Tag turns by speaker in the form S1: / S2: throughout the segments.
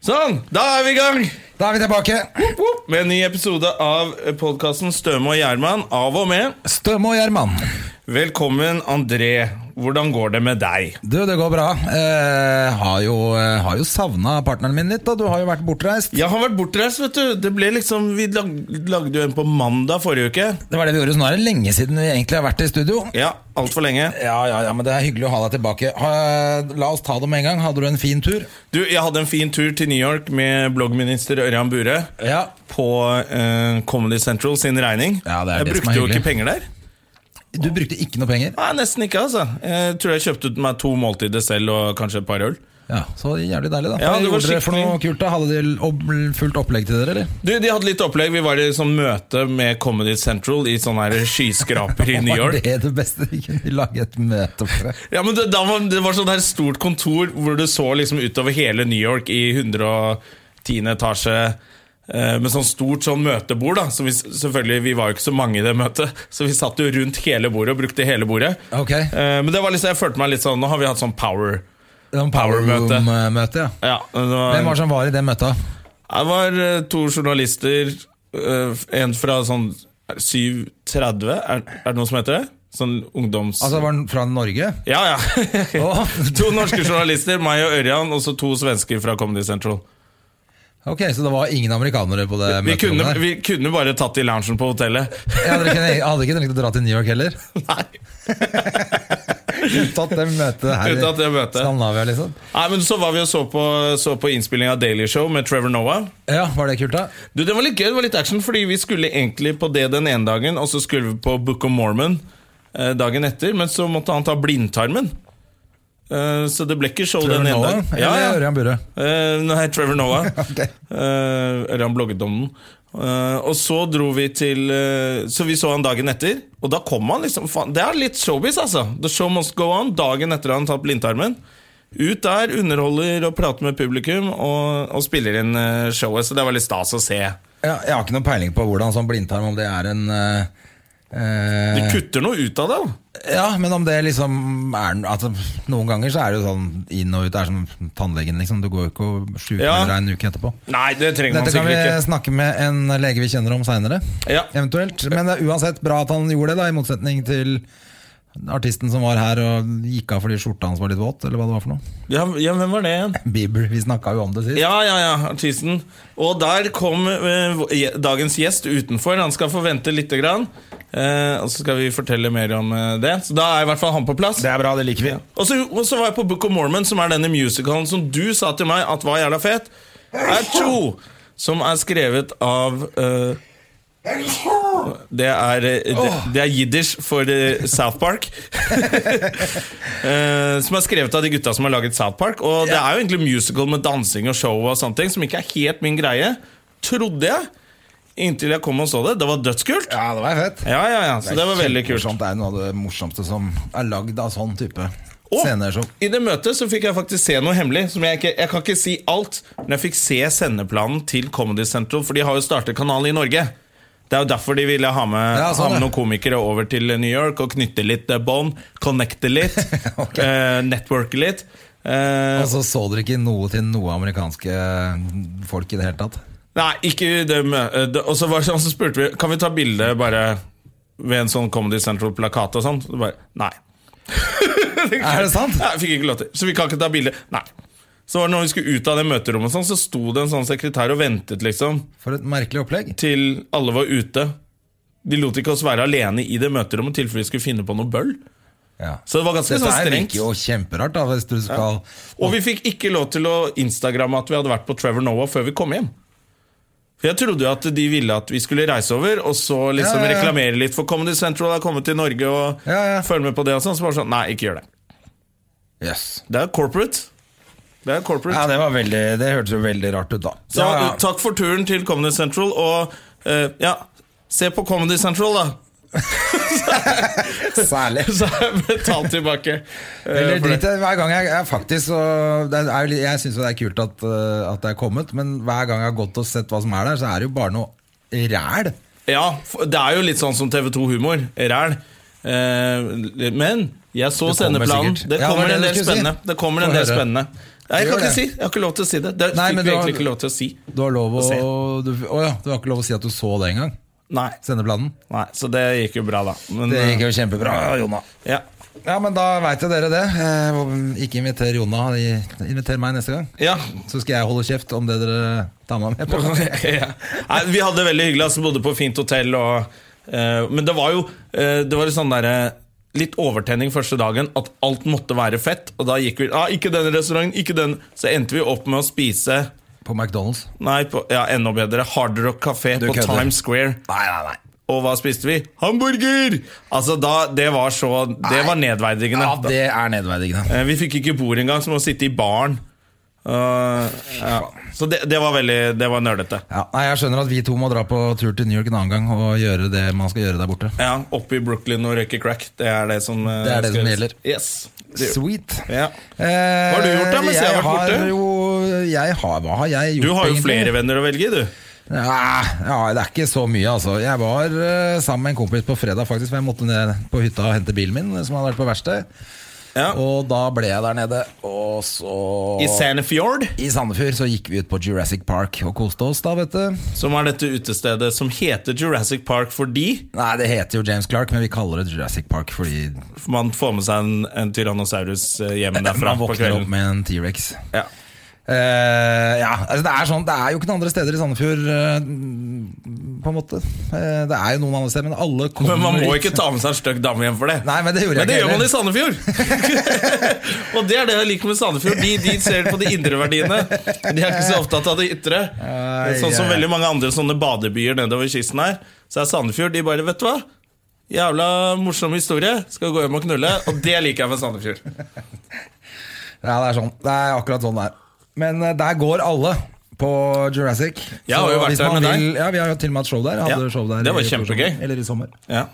S1: Sånn, da er vi i gang
S2: Da er vi tilbake.
S1: med en ny episode av podkasten Støme og Gjerman av og med.
S2: Støme og Gjerman.
S1: Velkommen, André. Hvordan går det med deg?
S2: Du, det går bra. Eh, har jo, eh, har jo savna partneren min litt, da. Du har jo vært bortreist.
S1: Jeg har vært bortreist, vet du. Det ble liksom, Vi lag, lagde jo en på mandag forrige uke.
S2: Det var det vi gjorde, så nå er det lenge siden vi egentlig har vært i studio.
S1: Ja, altfor lenge.
S2: Ja, ja, ja, men det er hyggelig å ha deg tilbake. Ha, la oss ta det med en gang. Hadde du en fin tur?
S1: Du, Jeg hadde en fin tur til New York med bloggminister Ørjan Bure.
S2: Ja.
S1: På eh, Comedy Central sin regning.
S2: Ja, det er
S1: jeg
S2: det som
S1: brukte
S2: er
S1: jo
S2: hyggelig.
S1: ikke penger der.
S2: Du brukte ikke noe penger?
S1: Nei, Nesten ikke, altså. Jeg tror jeg kjøpte ut meg to måltider selv og kanskje et par øl.
S2: Ja, Så jævlig deilig, da.
S1: Ja,
S2: Hva
S1: det var
S2: gjorde dere for
S1: skikkelig-
S2: noe kult da? Hadde de ob- fullt opplegg til dere, eller?
S1: Du, De hadde litt opplegg. Vi var i sånn møte med Comedy Central i sånn her skyskraper i New
S2: Var
S1: York.
S2: det det beste vi kunne lage et møte for?
S1: Ja, men Det, da var, det var sånn her stort kontor hvor du så liksom utover hele New York i 110. etasje. eh, Med sånn stort sånn møtebord. da Så vi, s- Selvfølgelig, Vi var jo ikke så mange i det møtet, så vi satt jo rundt hele bordet og brukte hele bordet.
S2: Ok.
S1: Eh, Men det var liksom, jeg følte meg litt sånn Nå har vi hatt sånn power.
S2: Sånn
S1: Power møte.
S2: Room-møte, ja.
S1: Ja, det var-
S2: Hvem var som var i det møtet?
S1: Det var eh, to journalister, eh, en fra sånn 7.30, er, er det noe som heter det? Sånn ungdoms...
S2: Altså, var den fra Norge?
S1: ja, ja.
S2: Å,
S1: to norske journalister, meg og Ørjan, og så to svensker fra Comedy Central.
S2: Ok, så det var ingen amerikanere på det
S1: Vi kunne,
S2: møterommet der?
S1: vi kunne bare tatt i loungen på hotellet.
S2: Ja, dere kunne, hadde ikke trengt å dra til New York heller?
S1: Nei.
S2: Tatt det møtet her
S1: Uten at det møtet.
S2: Skandinavia, liksom?
S1: Nei, men så var vi og så på, så på innspilling av Daily Show med Trevor Noah.
S2: Ja, var det kult, da?
S1: Du, Det var litt gøy, det var litt action, fordi vi skulle egentlig på det den ene dagen, og så skulle vi på Book of Mormon eh, dagen etter, men så måtte han ta blindtarmen. Eh, så det ble ikke show
S2: Trevor
S1: den ene
S2: Noah?
S1: dagen.
S2: Eller Ørjan Burre?
S1: Eh, nei, Trevor Noah.
S2: Ok.
S1: Eh, Ørjan blogget om den. Eh, og så dro vi til eh, Så vi så han dagen etter, og da kom han liksom faen, Det er litt showbiz, altså. The show must go on. Dagen etter han tatt blindtarmen. Ut der, underholder og prater med publikum, og, og spiller inn eh, showet. Så det var litt stas å se.
S2: Ja, jeg har ikke noen peiling på hvordan sånn blindtarm, om det er en eh, eh,
S1: Du kutter noe ut av det. da.
S2: Ja, men om det liksom er altså, Noen ganger så er det jo sånn inn og ut. Det er som tannlegen, liksom. Du går jo ikke og sjuker
S1: Ja.
S2: deg en uke etterpå.
S1: Nei, det trenger
S2: Dette kan
S1: man
S2: vi
S1: sikkert
S2: snakke med en lege vi kjenner om seinere.
S1: Ja.
S2: Eventuelt. Men det er uansett bra at han gjorde det, da, i motsetning til artisten som var her og gikk av fordi skjorta hans var litt våt, eller hva det var for noe.
S1: ikke. Ja, ja, hvem var det igjen?
S2: Bieber, vi snakka jo om det sist.
S1: Ja, ja, ja, artisten. Og der kom eh, vår- dagens gjest utenfor. Han skal få vente lite grann. Eh, og så skal vi fortelle mer om eh, det. Så da er i hvert fall han på plass.
S2: er bra, det liker vi.
S1: Og så, og så var jeg på Book of Mormon, som er denne musicalen som du sa til meg at var jævla fet. Er to, som er skrevet av eh, det er, eh, det, det er jiddish for eh, South Park. Eh, som er skrevet av de gutta som har laget South Park. Og det er jo egentlig musical med dansing og show og sånne ting, som ikke er helt min greie. Trodde jeg. Inntil jeg kom og så det. Det var dødskult.
S2: Ja, det var fett.
S1: Ja, ja, ja, Så det var veldig kult.
S2: Kjempemorsomt. Det er noe av det morsomste som er lagd av sånn type
S1: Og
S2: sceneshow.
S1: i det møtet så fikk jeg faktisk se noe hemmelig. Som jeg, ikke, jeg kan ikke si alt, men jeg fikk se sendeplanen til Comedy Central, for de har jo startet kanal i Norge. Det er jo derfor de ville ha med,
S2: Ja, sånn,
S1: ha med
S2: ja.
S1: noen komikere over til New York og knytte litt eh, bånd. Connecte litt.
S2: Ok.
S1: eh, networke litt. Eh,
S2: Og så så dere ikke noe til noe amerikanske folk i det hele tatt?
S1: nei, ikke det møtet. Og så var det sånn, så spurte vi Kan vi ta bilde bare ved en sånn Comedy Central-plakat og sånn. Så bare, nei.
S2: Er det sant?
S1: Nei, jeg fikk ikke lov til. Så vi kan ikke ta bilde. Nei. Så var det når vi skulle ut av det møterommet, og sånn, så sto det en sånn sekretær og ventet, liksom,
S2: For et merkelig opplegg.
S1: til alle var ute. De lot ikke oss være alene i det møterommet i tilfelle vi skulle finne på noe bøll.
S2: Ja.
S1: Så det var ganske
S2: Dette
S1: sånn
S2: her
S1: strengt.
S2: virker jo kjemperart, da, hvis du skal
S1: Og vi fikk ikke lov til å instagramme at vi hadde vært på Trevor Noah før vi kom hjem. For Jeg trodde jo at de ville at vi skulle reise over og så
S2: Ja,
S1: liksom
S2: ja, ja.
S1: reklamere litt for Comedy Central har kommet til Norge og
S2: Ja, ja.
S1: følge med på det og sånn. Så bare sånn, nei, ikke gjør det.
S2: Jøss.
S1: Det er corporate. Det Det er corporate.
S2: Ja, det, var veldig, det hørtes jo veldig rart ut, da.
S1: Så
S2: ja, ja.
S1: eh, takk for turen til Comedy Central, og eh, ja, se på Comedy Central, da.
S2: Særlig.
S1: Så er jeg betalt tilbake. eh,
S2: Eller
S1: for
S2: drit
S1: det.
S2: i det. hver gang jeg, jeg faktisk så- det er, jo litt- Jeg syns jo det er kult at, eh, at det er kommet, men hver gang jeg har gått og sett hva som er der, så er det jo bare noe ræl.
S1: Ja, for det er jo litt sånn som TV2 Humor. Ræl. Eh, men jeg så
S2: Det kommer
S1: sendeplanen.
S2: sikkert.
S1: Det
S2: Ja, det var
S1: kommer
S2: det
S1: en
S2: du
S1: del
S2: skulle si.
S1: spennende. Det kommer en
S2: Få
S1: del
S2: høre.
S1: spennende. Nei, jeg
S2: Gjør
S1: kan ikke
S2: det.
S1: si. Jeg har ikke lov til å si det. Det
S2: Nei,
S1: fikk
S2: men
S1: vi
S2: du har-
S1: egentlig ikke lov til å si.
S2: Du har lov å,
S1: Se.
S2: du, å ja, du har ikke lov å si at du så det engang.
S1: Nei,
S2: Sendeplanen.
S1: nei, så det gikk jo bra, da. Men,
S2: Det gikk jo kjempebra, Jonna.
S1: eh, ja.
S2: Ja, men da veit jo dere det. Eh, Ikke inviter Jonna. Inviter meg neste gang.
S1: Ja.
S2: Så skal jeg holde kjeft om det dere tar meg med på.
S1: ja. Nei, vi hadde det veldig hyggelig, altså, bodde på fint hotell. Og, eh, men det var jo eh, Det var litt sånn derre Litt overtenning første dagen, at alt måtte være fett. Og da gikk vi ah, Ikke den restauranten, ikke den. Så endte vi opp med å spise
S2: På McDonald's.
S1: Nei, på, ja, enda bedre. Hard Rock Café
S2: Du
S1: på
S2: kødder.
S1: Times Square.
S2: Nei, nei, nei.
S1: Og hva spiste vi? Hamburger! Altså, da, Det var så Det var nedverdigende.
S2: Ja, det er nedverdigende.
S1: Eh, Vi fikk ikke bord engang, så vi må sitte i baren. Eh, ja. Så det, det var veldig Det var nerdete.
S2: Ja, nei, jeg skjønner at vi to må dra på tur til New York en annen gang og gjøre det man skal gjøre der borte.
S1: Ja, Oppe i Brooklyn og røyke crack. Det er det som, eh,
S2: Det er det som
S1: skal-
S2: gjelder.
S1: Yes. Det-
S2: Sweet.
S1: Ja.
S2: Hva
S1: har du gjort da, mens jeg har vært borte?
S2: Jo, jeg har, hva har jeg gjort?
S1: Du har jo
S2: egentlig?
S1: flere venner å velge i, du.
S2: Ja, ja, det er ikke så mye, altså. Jeg var eh, sammen med en kompis på fredag, faktisk, for jeg måtte ned på hytta og hente bilen min, som hadde vært på verksted.
S1: Ja.
S2: Og da ble jeg der nede, og så
S1: I Sandefjord,
S2: I Sandefjord så gikk vi ut på Jurassic Park og koste oss, da, vet du.
S1: som er dette utestedet som heter Jurassic Park fordi
S2: Nei, det heter jo James Clark, men vi kaller det Jurassic Park fordi
S1: man får med seg en, en tyrannosaurus eh, hjem derfra
S2: man
S1: på
S2: våkner opp
S1: kvelden.
S2: med en T-rex.
S1: Ja.
S2: Eh, ja, altså det er sånn Det er jo ikke noen andre steder i Sandefjord, eh, på en måte. Eh, det er jo noen andre steder, men alle kommer
S1: Men man må
S2: dit.
S1: ikke ta med seg en stygg dame hjem for det.
S2: Nei, men det gjorde jeg
S1: Men det
S2: ikke
S1: gjør man i
S2: heller.
S1: Sandefjord! og det er det jeg liker med Sandefjord. De, de ser på de indre verdiene. De er ikke så opptatt av det ytre.
S2: Ai,
S1: Sånn som
S2: ai.
S1: veldig mange andre sånne badebyer nedover kysten her. Så er Sandefjord de bare Vet du hva? Jævla morsom historie. Skal gå hjem og knulle. Og det liker jeg med Sandefjord.
S2: Ja, det er sånn. Det er akkurat sånn det er. Men eh, der går alle på Jurassic.
S1: Jeg har
S2: Så
S1: jo vært
S2: hvis
S1: der
S2: man
S1: med
S2: vil- Ja, Vi har jo til og med hatt show der. Hadde
S1: Ja,
S2: show der
S1: det
S2: i
S1: var
S2: fjor
S1: kjempegøy.
S2: sommer, Eller i sommer.
S1: Ja.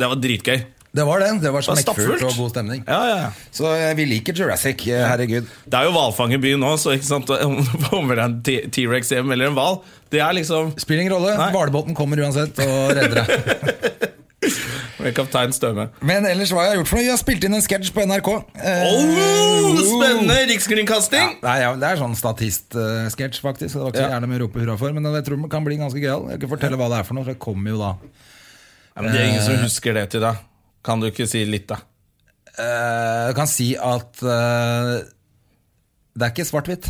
S1: Det var dritgøy.
S2: Det var det. Det var
S1: var
S2: smekkfullt
S1: stappfullt.
S2: og god stemning.
S1: Ja, ja, ja.
S2: Så eh, vi liker Jurassic. eh, Herregud.
S1: Det er jo hvalfangerby nå, så ikke sant? om det kommer en T- T-rex hjem eller en hval Det er liksom
S2: Spiller ingen rolle.
S1: Nei.
S2: Hvalbåten kommer uansett og redder deg.
S1: kaptein Støme.
S2: Men ellers hva jeg har gjort for noe? Jeg har spilt inn en sketsj på NRK. Eh,
S1: Oh, spennende!
S2: Ja,
S1: Rikskringkasting!
S2: nei, ja, det er sånn statistsketsj, faktisk. så Det var ikke så
S1: Ja.
S2: gjerne med å rope hurra for, men jeg tror den kan bli ganske gøyal. Jeg kan fortelle hva det er for noe, for det kommer jo da.
S1: Ja, men det er ingen som husker det til deg. Kan du ikke si litt, da?
S2: Eh, Jeg kan si at eh, det er ikke svart-hvitt.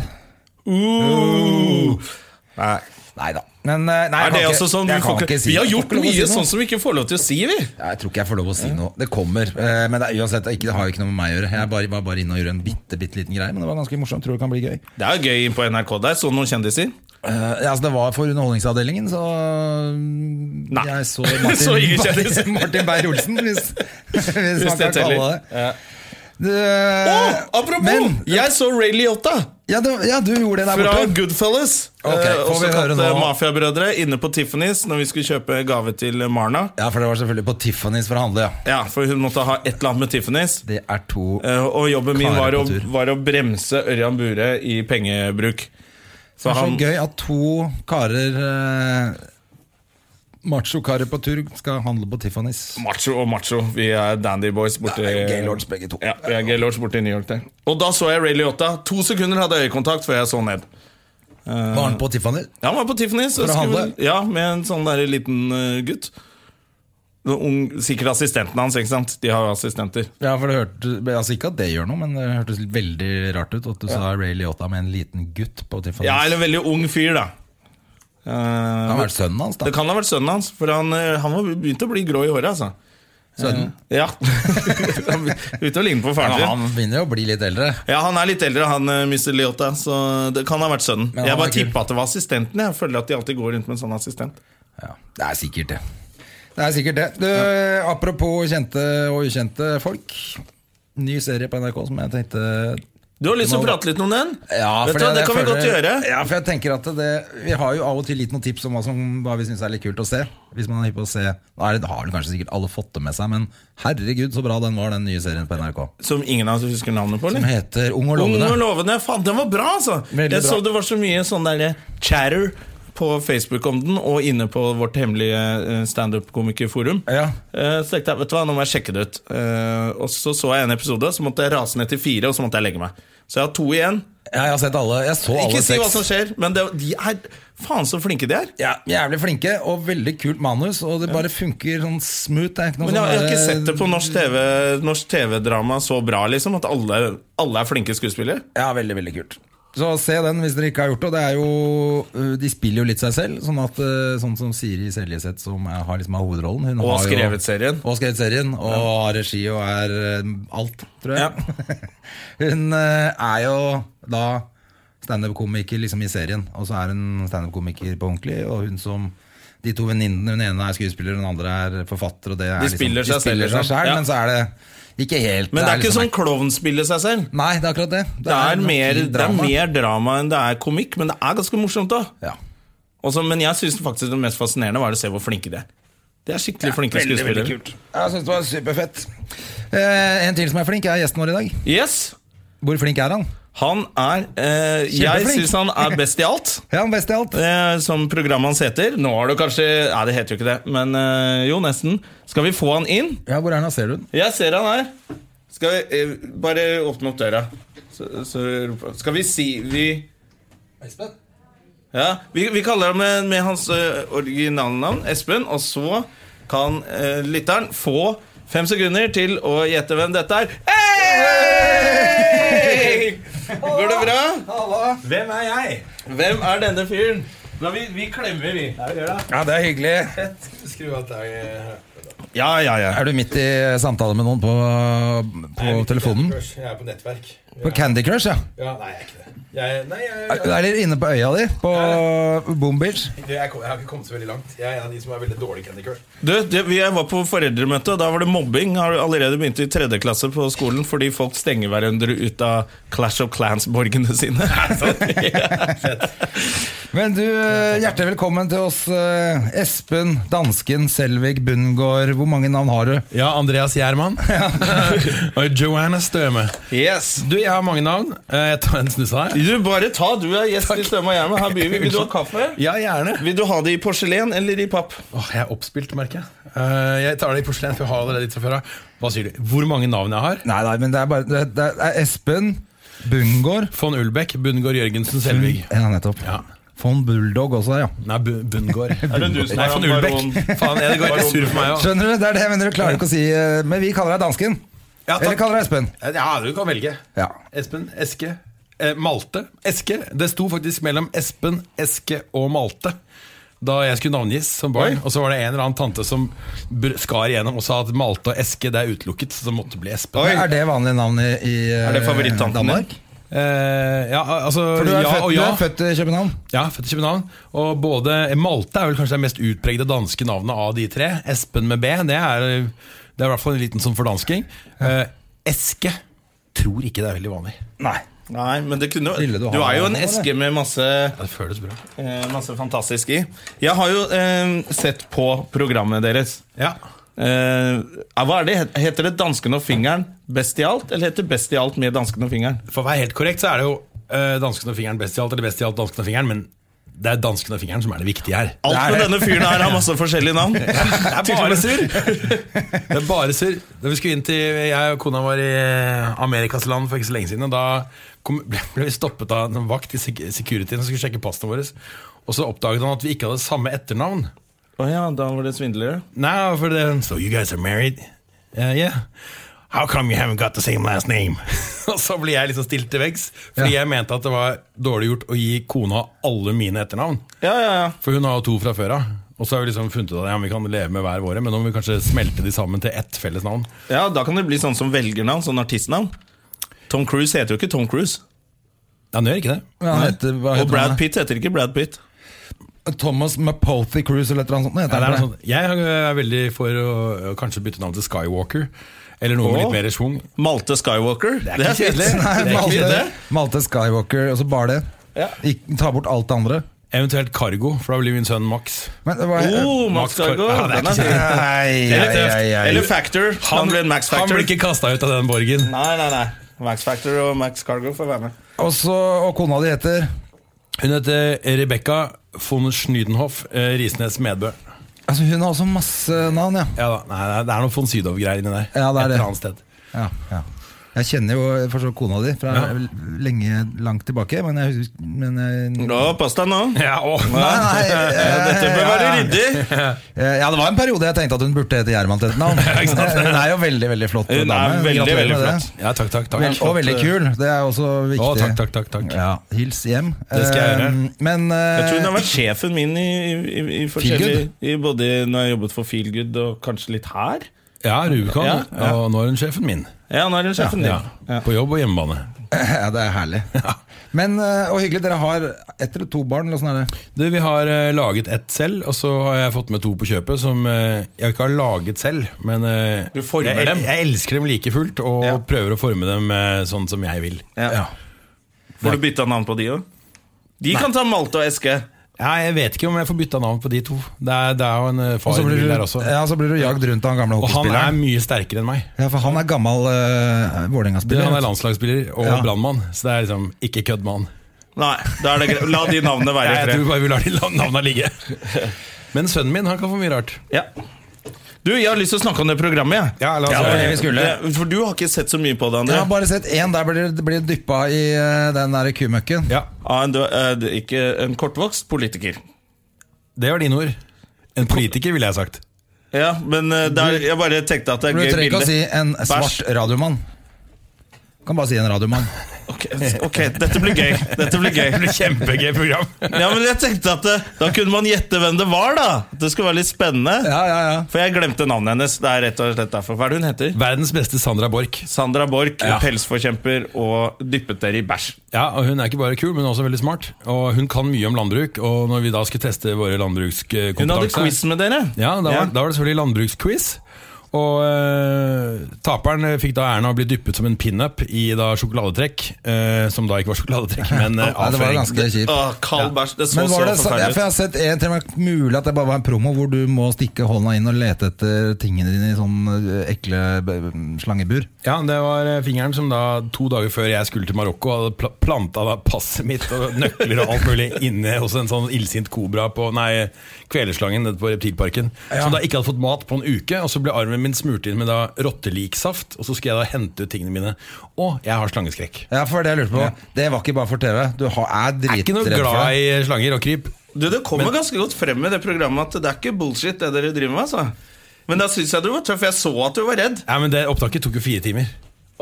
S1: Uh.
S2: Uh.
S1: Nei.
S2: Nei da. Men eh, nei,
S1: Er
S2: jeg
S1: det
S2: kan
S1: også
S2: ikke-
S1: sånn du
S2: jeg kan
S1: får ikke,
S2: ikke si-
S1: Vi
S2: jeg
S1: har
S2: får
S1: gjort
S2: ikke lov å si
S1: mye
S2: noe.
S1: sånn som vi ikke får lov til å si, vi.
S2: Ja, Jeg tror ikke jeg får lov å si noe. Det kommer. eh, Men det er, uansett, ikke, det har jo ikke noe med meg å gjøre. Jeg bare, var bare inne og gjorde en bitte, bitte liten greie, men det var ganske morsomt. Tror det kan bli gøy.
S1: Det er jo gøy inn på NRK der. Så noen kjendiser?
S2: Eh, ja, altså det var for underholdningsavdelingen, så mm,
S1: Nei.
S2: Jeg så Martin,
S1: Så ingen kjendiser.
S2: Martin Beyer-Olsen, hvis, hvis, man kan
S1: det teller.
S2: kalle det
S1: Ja.
S2: Du,
S1: Åh, apropos!
S2: Men,
S1: jeg så Ray Liotta
S2: ja, du, ja, du gjorde det der
S1: fra
S2: borte.
S1: Goodfellas.
S2: Ok,
S1: Eh,
S2: får
S1: også
S2: vi høre
S1: kalt
S2: nå?
S1: eh, Mafiabrødre inne på Tiffany's når vi skulle kjøpe gave til Marna.
S2: Ja, for det var selvfølgelig på Tiffany's for å handle, ja.
S1: Ja, For hun måtte ha et eller annet med Tiffany's.
S2: Det er to
S1: Eh, Og jobben min
S2: Karer
S1: var å,
S2: på tur.
S1: var å bremse Ørjan Bure i pengebruk.
S2: Det
S1: Så
S2: er så
S1: han,
S2: gøy at to karer eh, Macho-karer på tur skal handle på Tiffany's.
S1: macho og macho, vi er dandy boys borte
S2: Det er jo gay lords begge to.
S1: Ja, vi er gay lords borte i New York der. Og da så jeg Ray Liotta. To sekunder hadde jeg øyekontakt før jeg så ned.
S2: Var han på Tiffany?
S1: Ja, han var på Tiffany. Så
S2: For å
S1: skulle-
S2: handle?
S1: ja, med en sånn der liten eh, gutt. Noen Ung, sikkert assistenten hans, ikke sant? De har jo assistenter.
S2: Ja, for det hørte, altså Ikke at det gjør noe, men det hørtes veldig rart ut at du sa Ray Liotta med en liten gutt på Tiffany's.
S1: Ja, eller en veldig ung fyr, da. Eh,
S2: Det kan ha vært sønnen hans, da.
S1: det kan ha vært sønnen hans, for han, eh, han var begynt å bli grå i håret, altså. Eh,
S2: Sønnen.
S1: Ja. Han Begynte å ligne på faren
S2: Ja,
S1: sin.
S2: han begynner jo å bli litt eldre.
S1: Ja, han er litt eldre, han eh, Mr. Liotta, så det kan ha vært sønnen.
S2: Men han er
S1: Jeg bare
S2: kul.
S1: tippa at det var assistenten. Jeg føler at de alltid går rundt med en sånn assistent.
S2: Ja, det er sikkert det. Det er sikkert det. Du, Apropos kjente og ukjente folk. Ny serie på NRK som jeg tenkte
S1: Du har lyst til å prate litt om den?
S2: Ja,
S1: Vet
S2: for
S1: du, hva, det
S2: jeg
S1: kan vi godt
S2: føler-
S1: gjøre.
S2: Ja, for jeg tenker at det, Vi har jo av og til litt noen tips om hva, som, hva vi syns er litt kult å se. Hvis man er hypp på å se Da er det, da har vel kanskje sikkert alle fått det med seg, men herregud så bra den var, den nye serien på NRK.
S1: Som ingen av oss husker navnet på?
S2: Som
S1: eller?
S2: heter Ung og
S1: Ung og
S2: lovende.
S1: lovende. Faen, den var bra, altså!
S2: Veldig
S1: jeg så
S2: bra.
S1: det var så mye sånn der chatter på Facebook om den, og inne på vårt hemmelige eh, standup-komikerforum.
S2: Ja.
S1: Eh, Så tenkte jeg, vet du hva, nå må jeg sjekke det ut. Eh, Og så så jeg en episode, så måtte jeg rase ned til fire, og så måtte jeg legge meg. Så jeg har to igjen.
S2: Ja, jeg har sett alle. Jeg så alle
S1: Ikke si hva
S2: seks.
S1: som skjer, men det, de er faen så flinke de er.
S2: Ja, Jævlig flinke og veldig kult manus, og det bare funker sånn smooth. Det er ikke noe
S1: Men jeg, jeg har
S2: sånn
S1: ikke
S2: der-
S1: sett det på norsk TV, norsk TV-drama så bra, liksom. At alle, alle er flinke skuespillere.
S2: Ja, veldig, veldig kult. Så se den hvis dere ikke har gjort det. det er jo, øh, de spiller jo litt seg selv. Sånn at øh, sånn som Siri Seljeseth, som er, har liksom har hovedrollen hun
S1: Og
S2: har jo-
S1: skrevet serien.
S2: Og skrevet serien, og har regi og er øh, alt, tror jeg. hun øh, er jo da standup-komiker liksom i serien, og så er hun standup-komiker på ordentlig. Og hun som de to venninnene, hun ene er skuespiller, hun andre er forfatter. Og det er
S1: De spiller
S2: liksom,
S1: seg selv,
S2: de spiller seg
S1: liksom.
S2: selv
S1: Ja.
S2: men så er det ikke helt
S1: Men det er ikke
S2: liksom-
S1: sånn klovnspille seg selv.
S2: Nei, det er akkurat det.
S1: Det er,
S2: noe
S1: mer,
S2: fint
S1: det er mer drama enn det er komikk, men det er ganske morsomt òg.
S2: Ja.
S1: Men jeg syns faktisk det mest fascinerende var å se hvor flinke de er. De er skikkelig flinke skuespillere.
S2: Jeg syns det var superfett. Eh, en til som er flink, er gjesten vår i dag.
S1: Yes,
S2: Hvor flink er han?
S1: han er eh, Jeg
S2: Kjempeflink.
S1: syns han er best i alt.
S2: Ja, han best i alt.
S1: Eh, som programmet hans heter. Nå har du kanskje Nei, det heter jo ikke det, men eh, jo, nesten. Skal vi få han inn?
S2: Ja, Hvor er han? da? Ser du den?
S1: Jeg ser han her. Skal vi eh, Bare åpne opp døra. Så, så roper Skal vi si Vi Ja, vi, vi kaller ham med, med hans eh, originalnavn, Espen, og så kan eh, lytteren få fem sekunder til å gjette hvem dette er. Hei! Går det bra? Hvem er jeg? Hvem er denne fyren? Da, vi, vi klemmer, vi.
S2: Ja, det er hyggelig.
S3: eh,
S1: Ja, ja, ja.
S2: Er du midt i samtale med noen på, på telefonen?
S3: Jeg er på nettverk.
S2: På Candy Crush, ja.
S3: Ja, nei, jeg er ikke det. Jeg, nei, jeg, jeg,
S2: Eller inne på øya di, på Boom Beach.
S3: jeg, kom, jeg har ikke kommet så veldig langt. Jeg er en av de som er veldig dårlig i Candy Crush.
S1: Du, det, vi- jeg var på foreldremøte, og da var det mobbing. Har du allerede begynt i tredje klasse på skolen fordi folk stenger hverandre ut av Clash of Clans-borgene sine. Ja.
S2: Men du, eh, hjertelig velkommen til oss, eh, Espen, dansken, Selvig, Bundgaard. Hvor mange navn har du?
S3: Ja, Andreas Gjerman. og Joanna Støme.
S1: Yes.
S3: Du, jeg har mange navn. Eh, Jeg tar en snus her.
S1: Du, bare ta. Du er gjest i Støm og Hjerme. Her byr vi. Vil du ha kaffe?
S3: Ja, gjerne.
S1: Vil du ha det i porselen eller i papp?
S3: Åh, jeg er oppspilt, merker jeg. Eh, Jeg tar det i porselen, for jeg har allerede litt fra før av. Hva sier du? Hvor mange navn jeg har?
S2: Nei, nei, men det er bare Det, det er Espen, Bundgaard
S3: Von Ulbæk, Bundgaard Jørgensen Selvig.
S2: Ja, nettopp.
S3: Ja.
S2: Von Bulldog også, ja.
S3: Nei, Bu- Bundgaard.
S1: Er det du som
S3: Nei,
S1: er
S3: von
S1: han
S3: Ulbæk.
S1: baron-
S3: Faen, jeg- det går helt sur for meg
S1: Ah.
S3: òg.
S2: Skjønner du? Det er det jeg mener. Du klarer ikke å si eh, Men vi kaller deg dansken.
S3: Ja,
S2: Eller
S3: takk.
S2: kaller deg Espen.
S3: Ja, du kan velge.
S2: Ja.
S3: Espen, Eske, eh, Malte. Eske. Det sto faktisk mellom Espen, Eske og Malte. Da jeg skulle navngis som barn.
S1: Oi.
S3: Og så var det en eller annen tante som br- skar igjennom og sa at Malte og Eske det er utelukket. Så det måtte bli Espen.
S1: Oi.
S2: Er det vanlige navn i, i eh,
S1: Er det favorittanten din?
S2: Danmark?
S3: Eh, ja, al- altså
S2: For du er,
S3: ja
S2: født,
S3: og ja.
S2: du er født i København?
S3: Ja, født i København. Og både eh, Malte er vel kanskje det mest utpregde danske navnet av de tre. Espen med B, det er, eh, det er i hvert fall en liten sånn fordansking. Eh, Eske tror ikke det er veldig vanlig.
S2: Nei.
S1: Nei, men det kunne
S2: Ville
S1: Du
S2: du ha
S1: er jo
S2: han
S1: en
S2: nå,
S1: eske med masse,
S3: Ja, det føles bra.
S1: eh, masse fantastisk i. Jeg har jo eh, sett på programmet deres.
S3: Ja.
S1: Eh, hva er det? Heter det 'Dansken og fingeren' best i alt, eller heter det 'Best i alt med dansken og fingeren'?
S3: For å være helt korrekt så er det jo uh, dansken og fingeren best i alt, eller best i alt dansken og fingeren, men det er dansken og fingeren som er det viktige her.
S1: Alt med denne fyren her har masse forskjellige navn.
S3: Det er bare surr! Det er bare surr. Da vi skulle inn til Jeg og kona var i Amerikasland for ikke så lenge siden, og da kom, ble, ble vi stoppet av en vakt i sek- securityen som skulle sjekke passene våre, og så oppdaget han at vi ikke hadde samme etternavn.
S1: Å ja, da var det svindlere.
S3: Now for the So you guys are married? Uh, yeah. How come you haven't got the same last name? Og så blir jeg liksom stilt til veggs, fordi jeg mente at det var dårlig gjort å gi kona alle mine etternavn.
S1: Ja, ja, ja.
S3: For hun har jo to fra før av. Og så har vi liksom funnet ut at ja, men vi kan leve med hver våre, men nå må vi kanskje smelte de sammen til ett felles navn.
S1: Ja, Da kan det bli sånn som velgernavn, sånn artistnavn. Tom Cruise heter jo ikke Tom Cruise.
S3: Ja, han gjør ikke det.
S2: Men han heter, hva
S1: Og
S2: heter
S1: Brad
S2: han da?
S1: Pitt heter ikke Brad Pitt.
S2: Thomas Mapothy Cruise eller et eller annet sånt.
S3: Ja,
S2: Heter
S3: det er
S2: han
S3: noe
S2: for det.
S3: sånt. Jeg eh, er veldig for å å kanskje bytte navn til Skywalker. Eller noe med
S1: Åh.
S3: litt mer schwung.
S1: Malte Skywalker. Det
S3: ikke
S1: fint.
S3: kjedelig.
S1: Det er
S2: Nei,
S1: ikke
S2: Malte,
S1: kjedelig.
S2: Malte Skywalker, og så bare det.
S1: Ja.
S2: Ikke, ta bort alt det andre.
S3: Eventuelt Cargo, for da blir min sønn Max.
S2: Men det var
S1: Oh, Max Cargo.
S3: Ja, det er
S1: Den er
S3: ikke
S1: fin.
S2: Nei,
S1: Eller,
S2: ei, ei, ei.
S1: eller Factor. Han, blir en Max
S3: han
S1: Factor.
S3: blir ikke kasta ut av den borgen.
S1: Nei, nei, nei. Max Factor og Max Cargo får være med.
S2: Og så, og kona di heter
S3: Hun heter Rebekka von Schnydenhoff eh, Risnes Medbø.
S2: Altså Hun har også masse navn, ja.
S3: Ja da, nei, nei, Det er noe von Sydow-greier inni der.
S2: Ja, det er
S3: Et
S2: det.
S3: eller annet sted.
S2: ja, ja. Jeg kjenner jo for så vidt kona di fra
S3: Ja.
S2: lenge langt tilbake, men jeg hus- men jeg,
S1: Nå, pass deg nå.
S3: Ja, å,
S2: Nei, nei, eh,
S1: Dette bør
S2: ja,
S1: være
S2: ja.
S1: ryddig.
S2: Eh, Ja, det var en periode jeg tenkte at hun burde hete Gjerman til et navn. Hun er jo veldig, veldig flott
S1: Hun er
S2: dame.
S1: veldig,
S2: Gratulerer
S1: veldig
S2: med det.
S1: flott.
S3: Ja, takk, takk. takk.
S2: Vel, og veldig kul. Det er også viktig.
S3: eh. Å, takk, takk, takk, takk.
S2: Ja, hils hjem.
S3: Det skal
S2: Eh,
S3: jeg gjøre.
S2: Men eh,
S1: Jeg tror hun har vært sjefen min i, i, i, forskjellige- i både når jeg har jobbet for Feelgood og kanskje litt her.
S3: Ja, Rubicon.
S1: Ja, ja.
S3: Og nå er hun sjefen min.
S1: Ja, nå er hun sjefen
S3: Ja.
S1: din.
S3: På jobb og hjemmebane.
S2: Ja, det er herlig. Men, eh, og hyggelig, dere har ett eller to barn? Eller sånn er det.
S3: Du, Vi har eh, laget ett selv, og så har jeg fått med to på kjøpet som eh, jeg ikke har laget selv. Men eh,
S1: Du former
S3: jeg,
S1: dem.
S3: Jeg elsker dem like fullt, og
S1: Ja.
S3: prøver å forme dem eh, sånn som jeg vil.
S1: Ja. Får du bytta navn på de òg? De kan ta Malte og Eske.
S3: Ja, jeg vet ikke om jeg får bytta navn på de to. Det er, det er jo en eh,
S2: Og
S3: far
S2: så blir du,
S3: der også.
S2: ja, så blir du jagd rundt av den gamle
S3: Og han er
S2: hockeyspilleren.
S3: mye sterkere enn meg.
S2: Ja, for han er gammel uh,
S3: Det,
S2: Vålerenga-spiller.
S3: han er landslagsspiller og
S2: Ja.
S3: brannmann, så det er liksom ikke kødd med han.
S1: Nei, da er det greit. La de navnene være
S3: Jeg
S1: i fred.
S3: tror bare vi lar de navna ligge. Men sønnen min han kan få mye rart.
S1: Ja. Du, jeg har lyst til å snakke om det programmet. jeg.
S3: Ja, la oss-
S2: det var det vi skulle.
S1: altså, Det- For du har ikke sett så mye på det,
S2: Jeg
S1: André.
S2: har bare sett én der blir, blir dyppa i eh, den der kumøkken.
S3: Ja,
S1: Av en, dø- eh, det- ikke en kortvokst politiker.
S3: Det var dine ord. En politiker, ville jeg sagt.
S1: Ja, men eh, der, jeg bare tenkte at det
S2: Du
S1: er gøy
S2: trenger ikke
S1: bilde.
S2: å si en svart radiomann. Kan bare si en radiomann.
S1: Ok, ok, dette blir gøy. Dette blir gøy.
S3: Kjempegøy program.
S1: Ja, men jeg tenkte at eh, Da kunne man gjette hvem det var, da. Det skulle være litt spennende.
S2: Ja, ja, ja.
S1: For jeg glemte navnet hennes. Det er rett og slett derfor. Hva er det hun heter?
S3: Verdens beste Sandra Borch.
S1: Sandra Borch,
S3: Ja.
S1: pelsforkjemper og dyppet dere i bæsj.
S3: Ja, og Hun er ikke bare kul, men også veldig smart. Og Hun kan mye om landbruk. Og når vi da skulle teste våre landbrukskompetanse
S1: Hun hadde quiz med dere.
S3: Ja, da var,
S1: Ja.
S3: da var det selvfølgelig landbruksquiz. Og eh, taperen eh, fikk da æren av å bli dyppet som en pinup i da sjokoladetrekk. eh, som da ikke var sjokoladetrekk, men eh,
S2: Nei, det var
S3: avføring.
S2: ganske kjipt.
S1: Åh, kald bæsj. Det så
S2: Men
S1: så
S2: var det, så, ja,
S1: forferdelig
S2: for jeg
S1: ut.
S2: har sett en, til og med mulig at det bare var en promo hvor du må stikke hånda inn og lete etter tingene dine i sånn eh, ekle eh, slangebur.
S3: Ja, det var eh, fingeren som da to dager før jeg skulle til Marokko, hadde pla planta da passet mitt og nøkler og alt mulig inne hos en sånn illsint kobra på Nei, kvelerslangen nede på Reptilparken. Som da ikke hadde fått mat på en uke. Og så ble armen min smurt inn med da rotteliksaft, og så skulle jeg da hente ut tingene mine. Å, jeg har slangeskrekk.
S2: Ja, for det jeg lurte på. Det var ikke bare for TV. Du har, er
S3: Jeg er ikke noe
S2: dritredd for
S3: glad
S2: det.
S3: i slanger og kryp.
S1: Du, Det kommer ganske godt frem i det programmet at det er ikke bullshit, det dere driver med. altså. Men da syns jeg du var tøff. Jeg så at du var redd.
S3: Ja, men det Opptaket tok jo fire timer.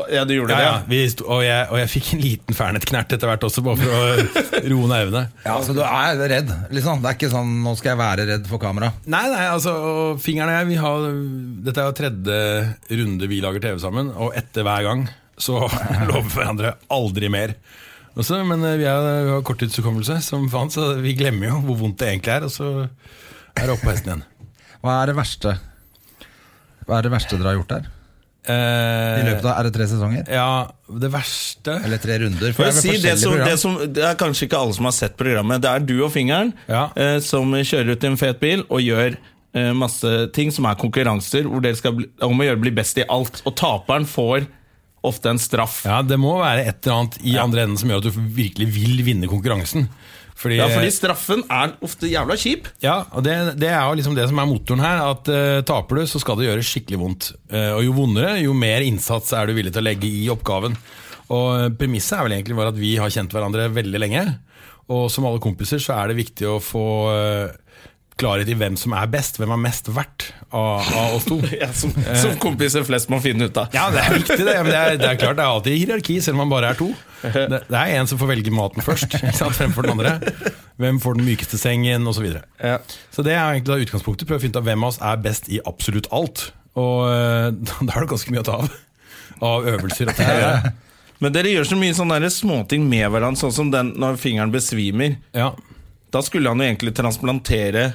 S1: Ja, du gjorde
S3: Ja,
S1: det,
S3: ja.
S1: ja.
S3: Vi sto, og, jeg, og jeg fikk en liten fernet-knert etter hvert også, bare for å roe nervene.
S2: Ja, så du er redd, liksom. Det er ikke sånn 'nå skal jeg være redd for kamera'.
S3: Nei, nei, altså og Fingeren og jeg vi har, Dette er jo tredje runde vi lager TV sammen Og etter hver gang Så lover vi hverandre aldri mer også, Men eh, vi, er, vi har korttidshukommelse Som faen, så vi glemmer jo hvor vondt det egentlig er Og så er det opp på hesten igjen
S2: Hva er det verste Hva er det verste dere har gjort der? I
S3: eh,
S2: løpet av Er det tre sesonger?
S3: Ja, det verste
S2: Eller tre runder?
S1: For
S2: det er
S1: å
S2: vel
S1: si, det,
S2: forskjellige
S1: som,
S2: program.
S1: det, som, det er kanskje ikke alle som har sett programmet. Det er du og fingeren
S3: Ja.
S1: eh, som kjører ut i en fet bil og gjør eh, masse ting som er konkurranser hvor dere skal bli, om å gjøre bli best i alt. Og taperen får ofte en straff. Ja,
S3: Ja, det må være et eller annet i andre enden Som gjør at du virkelig vil vinne konkurransen Fordi,
S1: fordi straffen er ofte jævla kjip.
S3: Ja, og det, det er jo liksom det som er motoren her. At eh, taper du, så skal det gjøre skikkelig vondt. Eh, og jo vondere, jo mer innsats er du villig til å legge i oppgaven. Og eh, premisset er vel egentlig bare at vi har kjent hverandre veldig lenge. Og som alle kompiser så er det viktig å få eh, klarhet i hvem som er best, hvem er mest verdt av, av oss to.
S1: Ja, som, som kompiser flest må finne ut av.
S3: Ja, det er viktig, det. Men det er, det er klart, det er alltid hierarki, selv om man bare er to. Det, det er en som får velge maten først, ikke sant, fremfor den andre. Hvem får den mykeste sengen, osv. Så, videre.
S1: Ja.
S3: så det er egentlig da utgangspunktet. Prøve å finne ut av hvem av oss er best i absolutt alt. Og eh, da da er det ganske mye å ta av. Av øvelser og ting å gjøre.
S1: Men dere gjør så mye sånne der småting med hverandre, sånn som den når fingeren besvimer.
S3: Ja.
S1: Da skulle han jo egentlig transplantere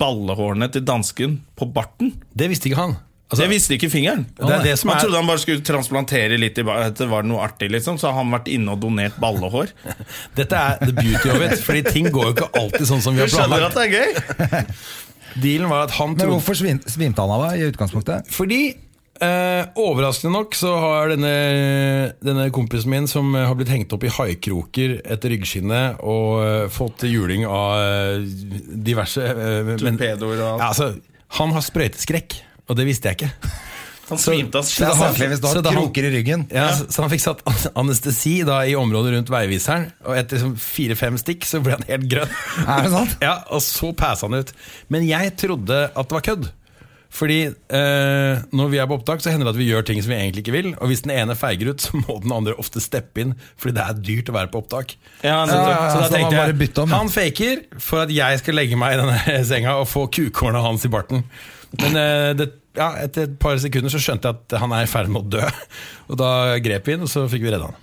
S1: ballehårene til dansken på barten.
S3: Det visste ikke han. Altså,
S1: det visste ikke fingeren.
S3: Det er det som
S1: han
S3: er-
S1: trodde han bare skulle transplantere litt i ba- at det var noe artig, liksom. Så har han vært inne og donert ballehår.
S3: Dette er the beauty of it, fordi ting går jo ikke alltid sånn som vi
S1: Du
S3: har
S1: skjønner at
S3: planlagt.
S1: det er gøy?
S3: Dealen var at han
S2: Men
S3: trodde
S2: hvorfor svim, svimte han av deg i utgangspunktet?
S3: Fordi eh, Overraskende nok så har denne, denne kompisen min som eh, har blitt hengt opp i haikroker etter ryggskinnet og eh, fått juling av eh, diverse eh, men-
S1: Torpedoer og alt.
S3: Ja, altså, han har sprøyteskrekk, og det visste jeg ikke.
S1: Han svimte av
S3: Så
S2: Det
S3: da
S2: er
S1: skjedd.
S3: han-
S2: saklig hvis du
S3: så
S2: har
S3: da han-
S2: kroker i ryggen.
S3: Ja, Så, så han fikk satt an- anestesi da, i området rundt veiviseren, og etter liksom fire-fem stikk så ble han helt grønn.
S2: Er det sant?
S3: Ja, Og så passa han ut. Men jeg trodde at det var kødd. Fordi eh, når vi er på opptak, så hender det at vi gjør ting som vi egentlig ikke vil. Og hvis den ene feiger ut, så må den andre ofte steppe inn, fordi det er dyrt å være på opptak.
S1: Ja, nettopp.
S2: ja,
S3: så da
S2: så han
S3: tenkte
S2: bare
S3: jeg
S2: bytte om, ja.
S3: han faker for at jeg skal legge meg i denne senga og få kukhårene hans i barten. Men eh, det, ja, etter et par sekunder så skjønte jeg at han er i ferd med å dø. Og da grep vi inn, og så fikk vi redda han.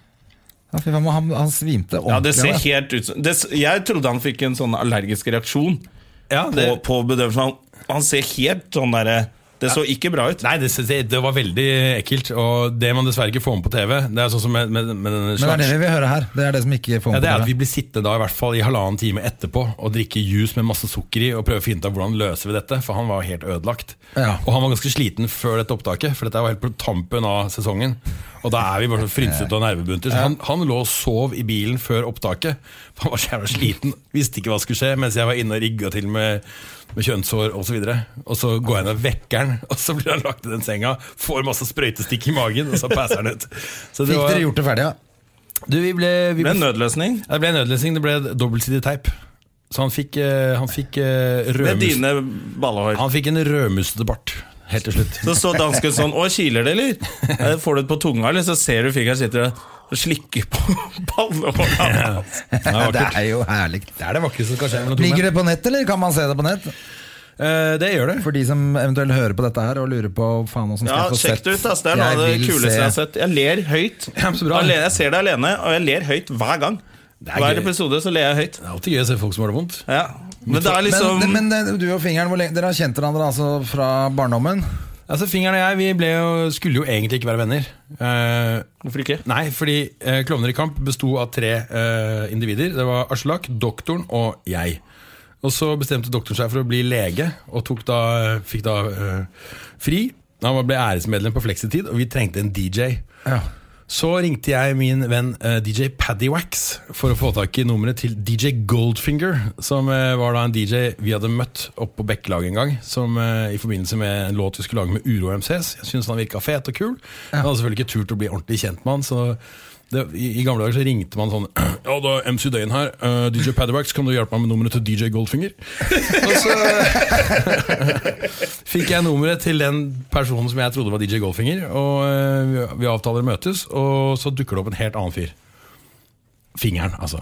S2: Ja, fy faen, han, han svimte
S1: Ja, det
S2: ordentlig.
S1: ser
S2: av deg.
S1: helt ut som det, s- Jeg trodde han fikk en sånn allergisk reaksjon
S3: Ja,
S1: på,
S3: det,
S1: på bedøvelsen. Han, han ser helt sånn derre Det så ikke bra ut.
S3: Nei, det, det, det var veldig ekkelt, og det man dessverre ikke får med på TV Det er sånn som med, med, med denne
S2: Men det er det
S3: slags
S2: vi vil høre her. Det er det som ikke får
S3: ja, det er at
S2: med
S3: vi blir sittende da i hvert fall i halvannen time etterpå og drikke juice med masse sukker i og prøve å finne ut av hvordan løser vi dette, for han var helt ødelagt.
S2: Ja.
S3: Og han var ganske sliten før dette opptaket, for dette var helt på tampen av sesongen. Og da er vi bare så frynsete og nervebunter. Så han, han lå og sov i bilen før opptaket, for han var så jævla sliten, visste ikke hva skulle skje, mens jeg var inne og rigga til med, med kjønnshår osv. Og, så videre. og så går jeg ned og vekker han, og så blir han lagt i den senga, får masse sprøytestikk i magen, og så passer han ut. Så det
S2: Fikk
S3: var-
S2: dere gjort det ferdig, ja?
S3: Du, vi ble, vi ble
S1: Med en nødløsning.
S3: ja, Det ble nødløsning, det ble dobbeltsidig teip. Så han fikk, eh, han fikk eh,
S1: Med
S3: rødmus-
S1: dine ballehår.
S3: Han fikk en rødmusete bart helt til slutt.
S1: Så så dansken sånn Å, kiler det, eller? Eh, Får du det på tunga, eller? Så ser du fingeren sitter og slikker på ballehåra.
S2: Ja, det er jo herlig.
S3: Det er det vakreste som kan skje mellom to
S2: Ligger
S3: menn.
S2: det på nett, eller kan man se det på nett?
S3: Eh, Det gjør det.
S2: For de som eventuelt hører på dette her og lurer på faen hvordan
S1: Ja,
S2: skal jeg få
S1: sjekk
S2: sett
S1: det ut. ass. Det er noe av det
S2: vil
S1: kuleste
S2: se-
S1: jeg har sett. Jeg ler høyt.
S3: Ja, men så bra.
S1: Alene, jeg ser det alene, og jeg ler høyt hver gang.
S3: er
S1: Hver
S3: gøy.
S1: episode så ler jeg høyt.
S3: Det er alltid gøy å se folk som har det vondt.
S1: Ja. Men det er liksom
S2: men, men eh, du og fingeren, hvor lenge, dere har kjent hverandre altså fra barndommen?
S3: Altså, Fingeren og jeg vi ble jo, skulle jo egentlig ikke være venner. Eh,
S1: Hvorfor ikke?
S3: nei, fordi eh, Klovner i kamp besto av tre eh, individer. Det var Aslak, doktoren og jeg. Og så bestemte doktoren seg for å bli lege, og tok da, fikk da eh, fri. Han ble æresmedlem på Flexitid, og vi trengte en DJ.
S2: Ja.
S3: Så ringte jeg min venn eh, DJ Paddy Wax for å få tak i nummeret til DJ Goldfinger, som eh, var da en DJ vi hadde møtt oppe på Bekkelaget en gang, som, eh, i forbindelse med en låt vi skulle lage med Uro MCs. Jeg syntes han virka fet og kul. Jeg hadde selvfølgelig ikke turt å bli ordentlig kjent med han, så det, i, i gamle dager så ringte man sånn Ja, da er MC Dane her. eh, DJ Paddy Wax, kan du hjelpe meg med nummeret til DJ Goldfinger? og så fikk jeg nummeret til den personen som jeg trodde var DJ Goldfinger. Og eh, vi- vi avtaler å møtes, og så dukker det opp en helt annen fyr. Fingeren, altså.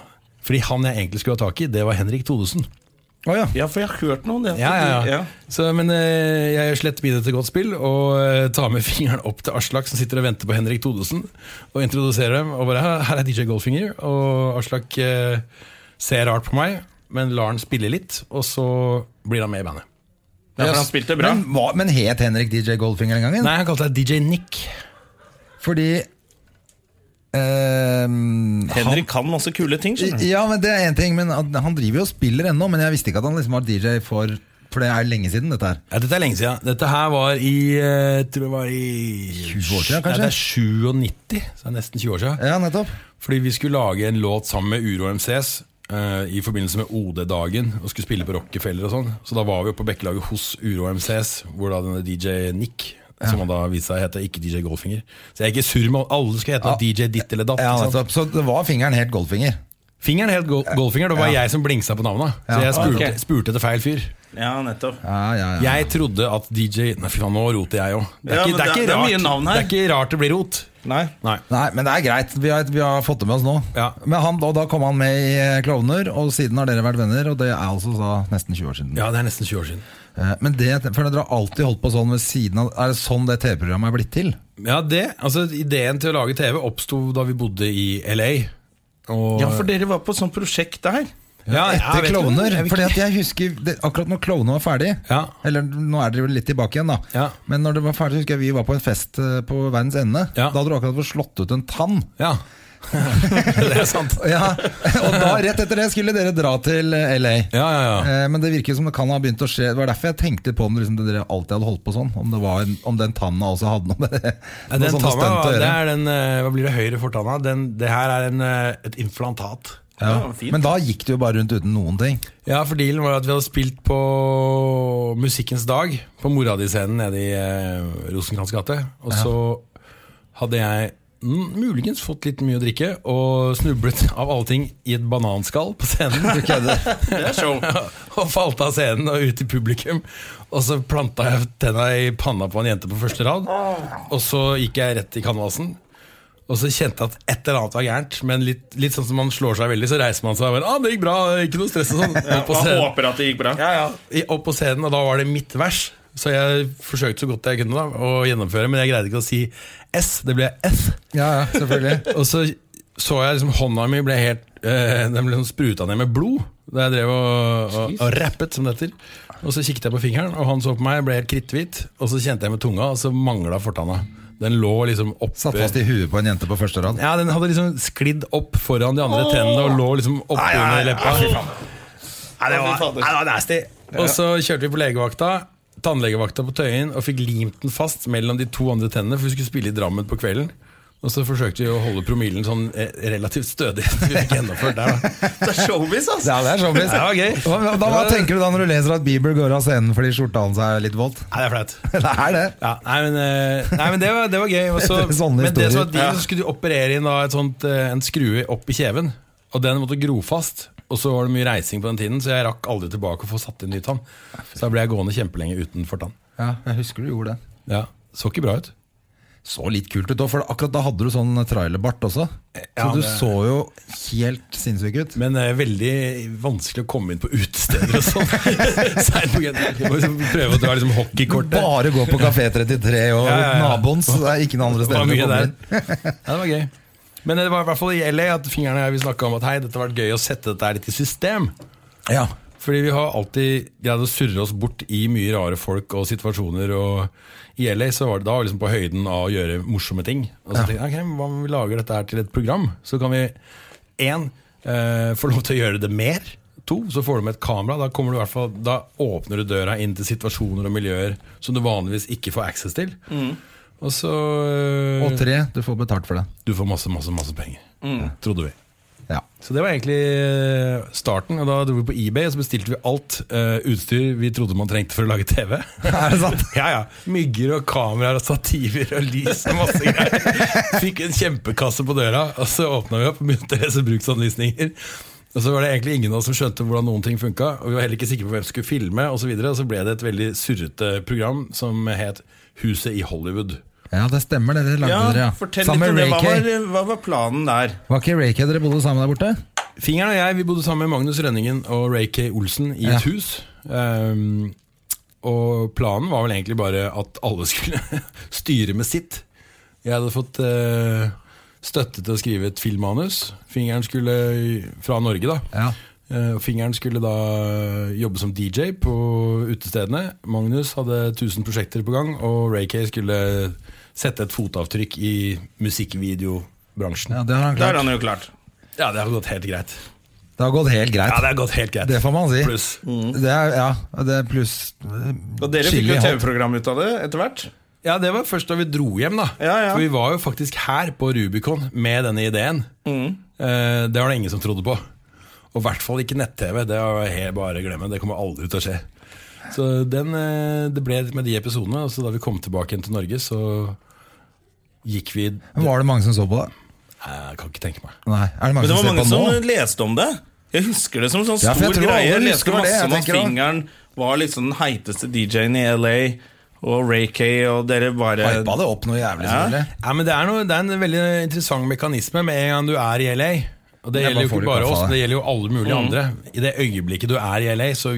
S3: Fordi han jeg egentlig skulle ha tak i, det var Henrik Thodesen.
S2: Å ja.
S1: Ja, for jeg har hørt noe om det.
S3: Ja, ja, ja.
S1: Ja.
S3: Så, men eh, jeg slett mine til godt spill og eh, tar med fingeren opp til Aslak, som sitter og venter på Henrik Thodesen, og introduserer dem. Og bare her, her er DJ Goldfinger. Og Aslak eh, ser rart på meg, men lar han spille litt, og så blir han med i bandet.
S1: Ja, for han spilte bra.
S2: Men, hva, men het Henrik DJ Goldfinger den gangen?
S3: Nei, han kalte seg DJ Nick.
S2: Fordi ehm,
S1: Henrik kan masse kule ting. skjønner du.
S2: Ja, men det er en ting, men at han driver jo og spiller ennå, men jeg visste ikke at han liksom var DJ for For det er lenge siden, dette her.
S3: Ja, dette er lenge siden. Dette her var i eh, tror det var i
S2: 20 år siden, kanskje?
S3: Ja, det er 97, så det er nesten 20 år siden.
S2: Ja, nettopp.
S3: Fordi vi skulle lage en låt sammen med Uro MCS eh, i forbindelse med OD-dagen og skulle spille på Rockefeller og sånn. Så da var vi jo på Bekkelaget hos Uro MCS, hvor da denne DJ Nick Som han da viste seg hete, ikke DJ Goldfinger. Så jeg er ikke sur med at alle skulle hete DJ ditt eller datt.
S2: Ja,
S3: ikke sant?
S2: nettopp. Så det var fingeren helt Goldfinger.
S3: Fingeren het Go- Goldfinger, det var jeg som blingsa på navnet. Så
S2: Ja.
S3: jeg spurte,
S1: Ok.
S3: spurte etter feil fyr.
S1: Ja, nettopp.
S2: Ja, ja, ja.
S3: Jeg trodde at DJ Nei, fy faen, nå roter jeg òg. Det, er
S1: Ja,
S3: ikke-
S1: men det
S3: det, er
S1: er-
S3: ikke
S1: det er
S3: rart-
S1: mye navn her.
S3: det er ikke rart det blir rot.
S1: Nei.
S3: Nei.
S2: Nei, men det er greit. Vi har, vi har fått det med oss nå.
S3: Ja.
S2: Men han, og da kom han med i eh, Klovner, og siden har dere vært venner, og det er altså da nesten 20 år siden.
S3: Ja, det er nesten 20 år siden.
S2: Eh, Men det, for dere har alltid holdt på sånn ved siden av Er det sånn det TV-programmet er blitt til?
S3: Ja, det, altså Ideen til å lage TV oppsto da vi bodde i LA. Og,
S1: Ja, for dere var på sånt sånn prosjekt der.
S3: Ja, jeg
S2: Etter
S3: vet ikke.
S2: klovner.
S3: Jeg vet
S2: Fordi
S3: ikke.
S2: at jeg husker det, Akkurat når klovnene var ferdig
S3: Ja.
S2: Eller nå er dere vel litt tilbake igjen, da.
S3: Ja.
S2: Men når det var ferdig, husker jeg vi var på en fest eh, på verdens ende.
S3: Ja.
S2: Da hadde du akkurat fått slått ut en tann.
S3: Ja. det er sant.
S2: Ja, Og da rett etter det skulle dere dra til eh, LA.
S3: Ja, ja, ja.
S2: Eh, Men det virker som det kan ha begynt å skje. Det var derfor jeg tenkte på om liksom, dere alltid hadde holdt på sånn. Om, det var, om den tanna også hadde noe med det
S3: Ja,
S2: noe
S3: den
S2: sånne
S3: tanna,
S2: stunt å gjøre.
S3: det er den, eh, hva blir det høyre fortanna? Den, det her er en, eh, et implantat.
S1: Ja,
S2: ja.
S1: fint.
S2: Men da gikk det jo bare rundt uten noen ting.
S3: Ja, for dealen var at vi hadde spilt på Musikkens dag på mora di-scenen nede i eh, Rosenkrantz gate. Og så hadde jeg mm, muligens fått litt mye å drikke og snublet av alle ting i et bananskall på scenen.
S1: Det er show.
S3: og falt av scenen og ut i publikum. Og så planta jeg tenna i panna på en jente på første rad.
S1: Ah.
S3: Og så gikk jeg rett i kanvasen. Og så kjente jeg at et eller annet var gærent. Men litt, litt sånn som man slår seg veldig, så reiser man seg og bare ah, 'Det gikk bra, ikke noe stress' og sånn. Opp på
S1: Man
S3: scenen.
S1: håper at det gikk bra.
S3: Ja, ja. I- Opp på scenen, og da var det mitt vers. Så jeg forsøkte så godt jeg kunne da, å gjennomføre, men jeg greide ikke å si S. Det ble F.
S2: Ja, ja, selvfølgelig.
S3: Og så så jeg liksom hånda mi ble helt eh, Den ble sånn spruta ned med blod da jeg drev og, og, og rappet, som det heter. Og så kikket jeg på fingeren, og han så på meg, ble helt kritthvit. Og så kjente jeg med tunga, og så mangla fortanna. Den lå liksom oppe
S2: Satt fast i huet på en jente på første rad.
S3: Ja, Den hadde liksom sklidd opp foran de andre tennene og lå liksom oppunder leppa. Nei, det var, nei, det var nasty. Og så kjørte vi på legevakta. Tannlegevakta på Tøyen og fikk limt den fast mellom de to andre tennene. For vi skulle spille i Drammen på kvelden. Og så forsøkte vi å holde promillen sånn eh, relativt stødig. Vi fikk gjennomført der da
S1: Det er showbiz, ass!
S2: Ja, det er showbiz.
S3: Det var gøy.
S2: Hva, hva- da, hva tenker du da når du leser at Bieber går av scenen fordi skjorta hans er litt voldt?
S3: Nei, det er flaut.
S2: Det er det.
S3: Ja, nei, men, eh, nei, men det var, det var gøy. Og så-
S2: Sånne
S3: men det som
S2: historier.
S3: var digg, så skulle du operere inn da, et sånt, eh, en skrue opp i kjeven. Og den måtte gro fast. Og så var det mye reising på den tiden, så jeg rakk aldri tilbake å få satt inn ny tann. Så da ble jeg gående kjempelenge uten fortann.
S2: Ja, jeg husker du gjorde det.
S3: Ja, så ikke bra ut.
S2: Så litt kult ut òg, for akkurat da hadde du sånn trailerbart også. Så
S3: Ja,
S2: du
S3: det-
S2: så jo helt sinnssyk ut.
S3: Men eh, veldig vanskelig å komme inn på utesteder og sånn. Seint på kvelden. Du må liksom Prøve at du har liksom hockeykort der.
S2: Bare gå på Kafé 33 og
S3: Ja, ja, ja.
S2: naboen, så det er ikke noen andre
S3: Det var
S2: steder du
S3: mye
S2: kommer
S3: der.
S2: inn.
S3: Ja, det var gøy. Men det var i hvert fall i LA at fingrene og jeg snakka om at hei, dette har vært gøy å sette dette her litt i system.
S2: Ja.
S3: Fordi vi har alltid greid å surre oss bort i mye rare folk og situasjoner. Og i LA så var det da liksom på høyden av å gjøre morsomme ting. Og så tenkte jeg, ok, hva om vi lager dette her til et program? Så kan vi én eh, få lov til å gjøre det mer. To, så får du med et kamera. Da, kommer du i hvert fall, da åpner du døra inn til situasjoner og miljøer som du vanligvis ikke får access til. Og så eh,
S2: Mm. Og tre, Mm. du får betalt for det.
S3: du får masse, masse, masse penger. Trodde vi.
S2: Ja.
S3: Så det var egentlig eh, starten. Og da dro vi på eBay og så bestilte vi alt eh, utstyr vi trodde man trengte for å lage TV.
S2: Er det sant?
S3: ja, ja. Mygger og kameraer og stativer og lys og masse greier. Fikk en kjempekasse på døra, og så åpna vi opp og begynte å lese bruksanvisninger. Og så var det egentlig ingen av oss som skjønte hvordan noen ting funka. Og vi var heller ikke sikre på hvem som skulle filme, og så, videre, og så ble det et veldig surrete program som het Huset i Hollywood.
S2: Ja, det stemmer, det. Det lagde dere,
S1: Ja,
S2: ja.
S1: fortell
S2: Sammen
S1: litt
S2: med
S1: om det. Hva var,
S2: Ray-K.
S1: hva var planen der?
S2: Var ikke Ray-K dere bodde sammen der borte?
S3: Fingeren og jeg vi bodde sammen med Magnus Rønningen og Ray K. Olsen i
S2: Ja.
S3: et hus. Ehm, og planen var vel egentlig bare at alle skulle styre med sitt. Jeg hadde fått eh, støtte til å skrive et filmmanus. Fingeren skulle fra Norge, da.
S2: Ja.
S3: Eh, og fingeren skulle da jobbe som DJ på utestedene. Magnus hadde 1000 prosjekter på gang, og Ray K skulle sette et fotavtrykk i musikkvideobransjen.
S2: ja, det har han
S1: Da er
S2: klart.
S1: han jo klart.
S3: Ja, det har gått helt greit.
S2: Det har gått helt greit.
S3: Ja, det har gått helt greit.
S2: Det får man si. Mm.
S3: Pluss.
S2: Det er, ja, det er pluss
S1: Og dere fikk jo
S2: Chili hot.
S1: TV-program ut av det etter hvert.
S3: Ja, det var først da vi dro hjem, da.
S1: Ja, ja.
S3: For vi var jo faktisk her på Rubicon med denne ideen.
S1: Mm.
S3: Eh, det var det ingen som trodde på. Og i hvert fall ikke nett-TV. Det var helt bare å glemme. Det kommer aldri til å skje. Så den, eh, det ble med de episodene. Og så da vi kom tilbake igjen til Norge, så gikk vi
S2: Men Var det mange som så på det?
S3: Nei, Jeg kan ikke tenke meg.
S2: Nei, er det mange
S1: Men det
S2: som
S1: var
S2: ser
S1: mange
S2: Altså, på
S1: som
S2: nå?
S1: leste om det. Jeg husker det som en sånn
S2: Ja, for jeg
S1: stor
S2: tror alle
S1: greie. Jeg
S2: husker
S1: leste
S2: det, jeg
S1: masse om at
S2: tenker også.
S1: fingeren var liksom den heiteste DJ-en i LA, og Ray K, og dere bare
S2: Hypa det opp noe jævlig,
S1: eh, Ja.
S2: selvfølgelig.
S3: Ja, men det er, noe, det er en veldig interessant mekanisme med en gang du er i LA. Og det
S2: Ja,
S3: gjelder jo
S2: da får
S3: ikke
S2: du kaffe
S3: bare
S2: av
S3: oss,
S2: deg.
S3: det gjelder jo alle mulige andre. I det øyeblikket du er i LA, så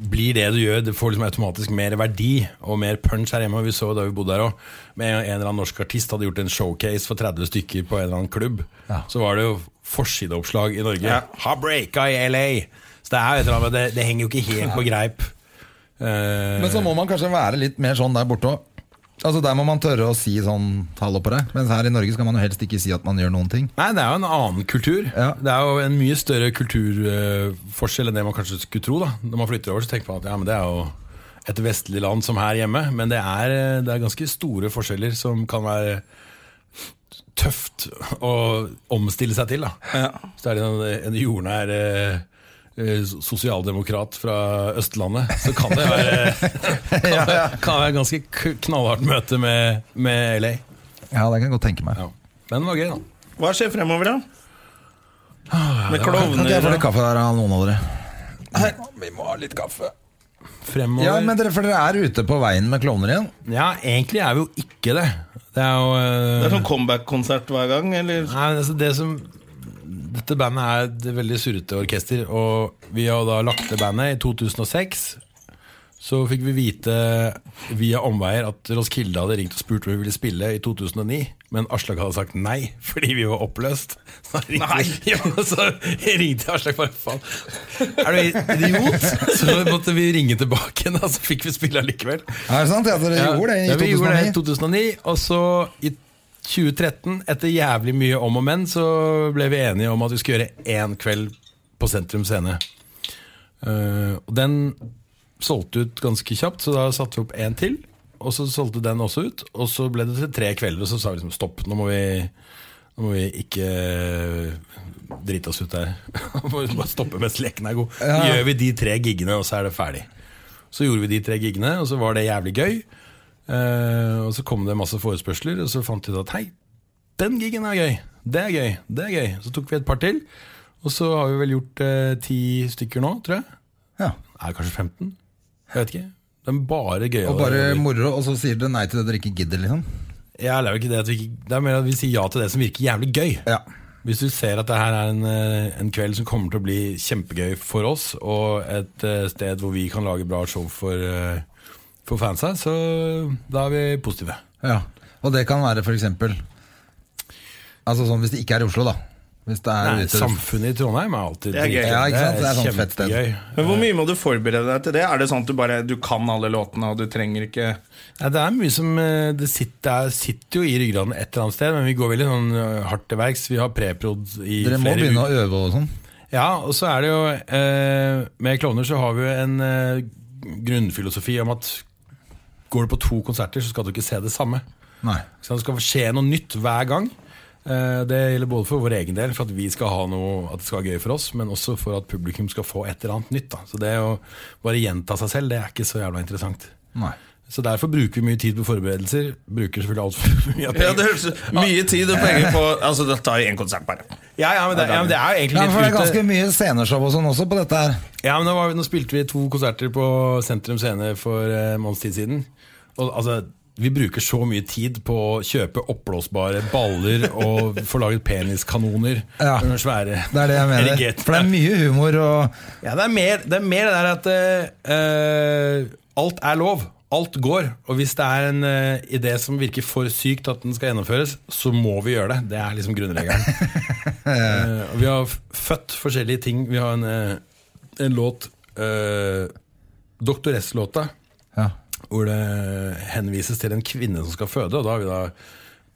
S3: blir det du gjør, det får liksom automatisk mer verdi og mer punch her hjemme. Vi så jo da vi bodde her òg, med en eller annen norsk artist hadde gjort en showcase for 30 stykker på en eller annen klubb.
S2: Ja.
S3: Så var det jo forsideoppslag i Norge.
S1: Ja.
S3: Har breaka i LA! Så det er jo et eller annet, men det, det henger jo ikke helt på greip. Eh,
S2: Men så må man kanskje være litt mer sånn der borte òg. Altså Der må man tørre å si sånn hallo på deg. Mens her i Norge skal man jo helst ikke si at man gjør noen ting.
S3: Nei, det er jo en annen kultur.
S2: Ja.
S3: Det er jo en mye større kulturforskjell enn det man kanskje skulle tro. da Når man flytter over, så tenker man at ja, men det er jo et vestlig land som her hjemme. Men det er, eh, det er ganske store forskjeller som kan være tøft å omstille seg til. da Så er det en, en jordnær eh, eh, Sosialdemokrat fra Østlandet, så kan det være, kan det, kan være ganske k- knallhardt møte med, med LA.
S2: Ja, det kan jeg godt tenke meg.
S3: Ja. Men det var gøy, da.
S1: Hva skjer fremover, da?
S2: Kan ikke
S1: Med
S2: jeg få
S1: klovner
S2: litt kaffe der av noen av dere?
S3: Vi må ha litt kaffe. Fremover
S2: Ja, men dere, For dere er ute på veien med klovner igjen?
S3: Ja, egentlig er vi jo ikke det. Det er jo eh,
S1: Det er sånn comeback-konsert hver gang, eller?
S3: Nei, altså det som Dette bandet er et veldig surrete orkester, og vi har da lagt ned bandet i 2006. Så fikk vi vite via omveier at Roskilde hadde ringt og spurt om vi ville spille i 2009. Men Aslak hadde sagt nei, fordi vi var oppløst. Så ringte, Ja, så ringte Aslak bare faen. Er du idiot? Så måtte vi ringe tilbake, igjen, og så fikk vi spille allikevel.
S2: Er det sant? Ja, dere
S3: Ja,
S2: gjorde det i
S3: ja, vi gjorde det i
S2: 2009?
S3: 2009. Og så i 2013, etter jævlig mye om og men, så ble vi enige om at vi skulle gjøre én kveld på Sentrum Scene. Eh, og den solgte ut ganske kjapt, så da satte vi opp én til. Og så solgte den også ut, og så ble det til tre kvelder. Og så sa vi liksom stopp, nå må vi, nå må vi ikke eh, drite oss ut der. Nå må vi bare stoppe mens leken er god. Nå gjør vi de tre giggene, og så er det ferdig. Så gjorde vi de tre giggene, og så var det jævlig gøy. Eh, og så kom det masse forespørsler, og så fant vi ut at hei, den giggen er gøy. Det er gøy. Det er gøy. Så tok vi et par til, og så har vi vel gjort eh, ti stykker nå, tror jeg.
S2: Ja.
S3: Er det kanskje 15? Jeg vet ikke. Det er bare gøy.
S2: Og bare moro, og så sier dere nei til det dere ikke gidder, liksom?
S3: Ja, det er jo ikke det at vi ikke Det er mer at vi sier ja til det som virker jævlig gøy.
S2: Ja.
S3: Hvis du ser at det her er en, eh, en kveld som kommer til å bli kjempegøy for oss, og et eh, sted hvor vi kan lage bra show for, eh, for fansa, så da er vi positive.
S2: ja. Og det kan være for eksempel Altså sånn hvis det ikke er i Oslo, da. Hvis det er
S3: Nei,
S2: ute
S3: samfunnet i Trondheim er alltid
S1: Det er gøy.
S3: dritgøy.
S2: Ja, ikke sant? Det er sånn fett sted.
S3: kjempegøy.
S1: Men Hvor mye må du forberede deg til det? Er det sånn at du bare du kan alle låtene og du trenger ikke
S3: Ja, det er mye som eh, det sitter, det sitter jo i ryggraden et eller annet sted, men vi går veldig sånn eh, hardt til verks. Vi har preprod i
S2: Dere må
S3: flere
S2: begynne
S3: uker.
S2: å øve og sånn.
S3: Ja, og så er det jo eh, Med Klovner så har vi jo en eh, grunnfilosofi om at går du på to konserter, så skal du ikke se det samme.
S2: Nei.
S3: Så det skal skje noe nytt hver gang. Eh, Det gjelder både for vår egen del, for at vi skal ha noe At det skal være gøy for oss, men også for at publikum skal få et eller annet nytt. Da. Så det å bare gjenta seg selv, det er ikke så jævla interessant.
S2: Nei.
S3: Så derfor bruker vi mye tid på forberedelser. Bruker selvfølgelig altfor mye
S1: Ja, det
S3: penger.
S1: høres Mye tid og penger på Altså, det tar jo én konsert, bare.
S3: Ja, ja, men det, ja, men det er jo egentlig
S2: Ja, for det er
S3: litt ute.
S2: ganske mye sceneshow og sånn også på dette her.
S3: Ja, men nå, var vi, nå spilte vi to konserter på Sentrum Scene for eh, en måneds tid siden. Og altså vi bruker så mye tid på å kjøpe oppblåsbare baller og få laget peniskanoner.
S2: Ja.
S3: Med svære
S2: Det er det jeg mener.
S3: erigerte-
S2: For det er mye humor og
S3: Ja, det er mer det, er mer det der at eh, eh, alt er lov. Alt går. Og hvis det er en eh, idé som virker for sykt at den skal gjennomføres, så må vi gjøre det. Det er liksom grunnregelen. Eh, og vi har f- født forskjellige ting. Vi har en, eh, en låt, uh, Doktoresslåta,
S2: ja.
S3: hvor det henvises til en kvinne som skal føde. Og da har vi da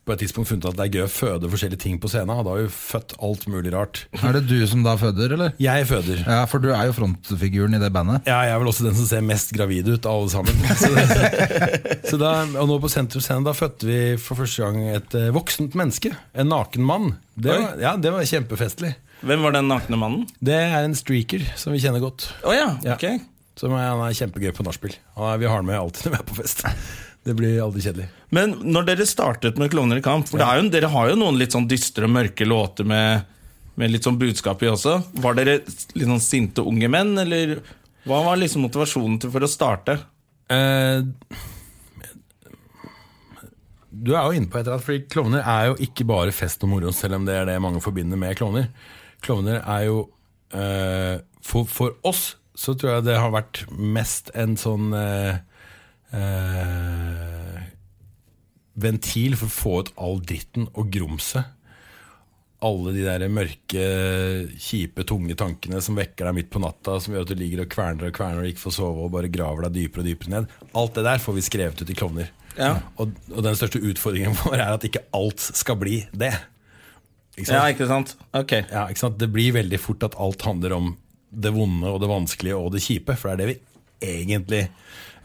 S3: på et tidspunkt funnet at det er gøy å føde forskjellige ting på scenen. Og da har vi født alt mulig rart.
S2: Er det du som da føder, eller?
S3: Jeg føder.
S2: Ja, for du er jo frontfiguren i det bandet.
S3: Ja, jeg er vel også den som ser mest gravid ut av alle sammen. Så, så da, og nå på sentrumsscenen da fødte vi for første gang et eh, voksent menneske. En naken mann. Det var, ja, det var kjempefestlig.
S1: Hvem var den nakne mannen?
S3: Det er en streaker som vi kjenner godt.
S1: Å ja,
S3: Ja.
S1: ok
S3: Som er, han er kjempegøy på nachspiel. Han er- Vi har han med alltid når vi er på fest. Det blir aldri kjedelig.
S1: Men når dere startet med Klovner i kamp For det er jo, dere har jo noen litt sånn dystre, mørke låter med, med litt sånn budskap i også. Var dere litt sånn sinte unge menn, eller hva var liksom motivasjonen til for å starte?
S3: Eh, du er jo inne på et eller annet, fordi klovner er jo ikke bare fest og moro, selv om det er det mange forbinder med klovner. Klovner er jo eh, for, for oss så tror jeg det har vært mest en sånn eh, eh, ventil for å få ut all dritten og grumset alle de der mørke, kjipe, tunge tankene som vekker deg midt på natta, som gjør at du ligger og kverner og kverner og ikke får sove og bare graver deg dypere og dypere ned. Alt det der får vi skrevet ut i klovner.
S1: Ja.
S3: Og, og den største utfordringen vår er at ikke alt skal bli det. Ikke sant?
S1: Ja, ikke sant? Ok.
S3: Ja, ikke sant? Det blir veldig fort at alt handler om det vonde og det vanskelige og det kjipe, for det er det vi egentlig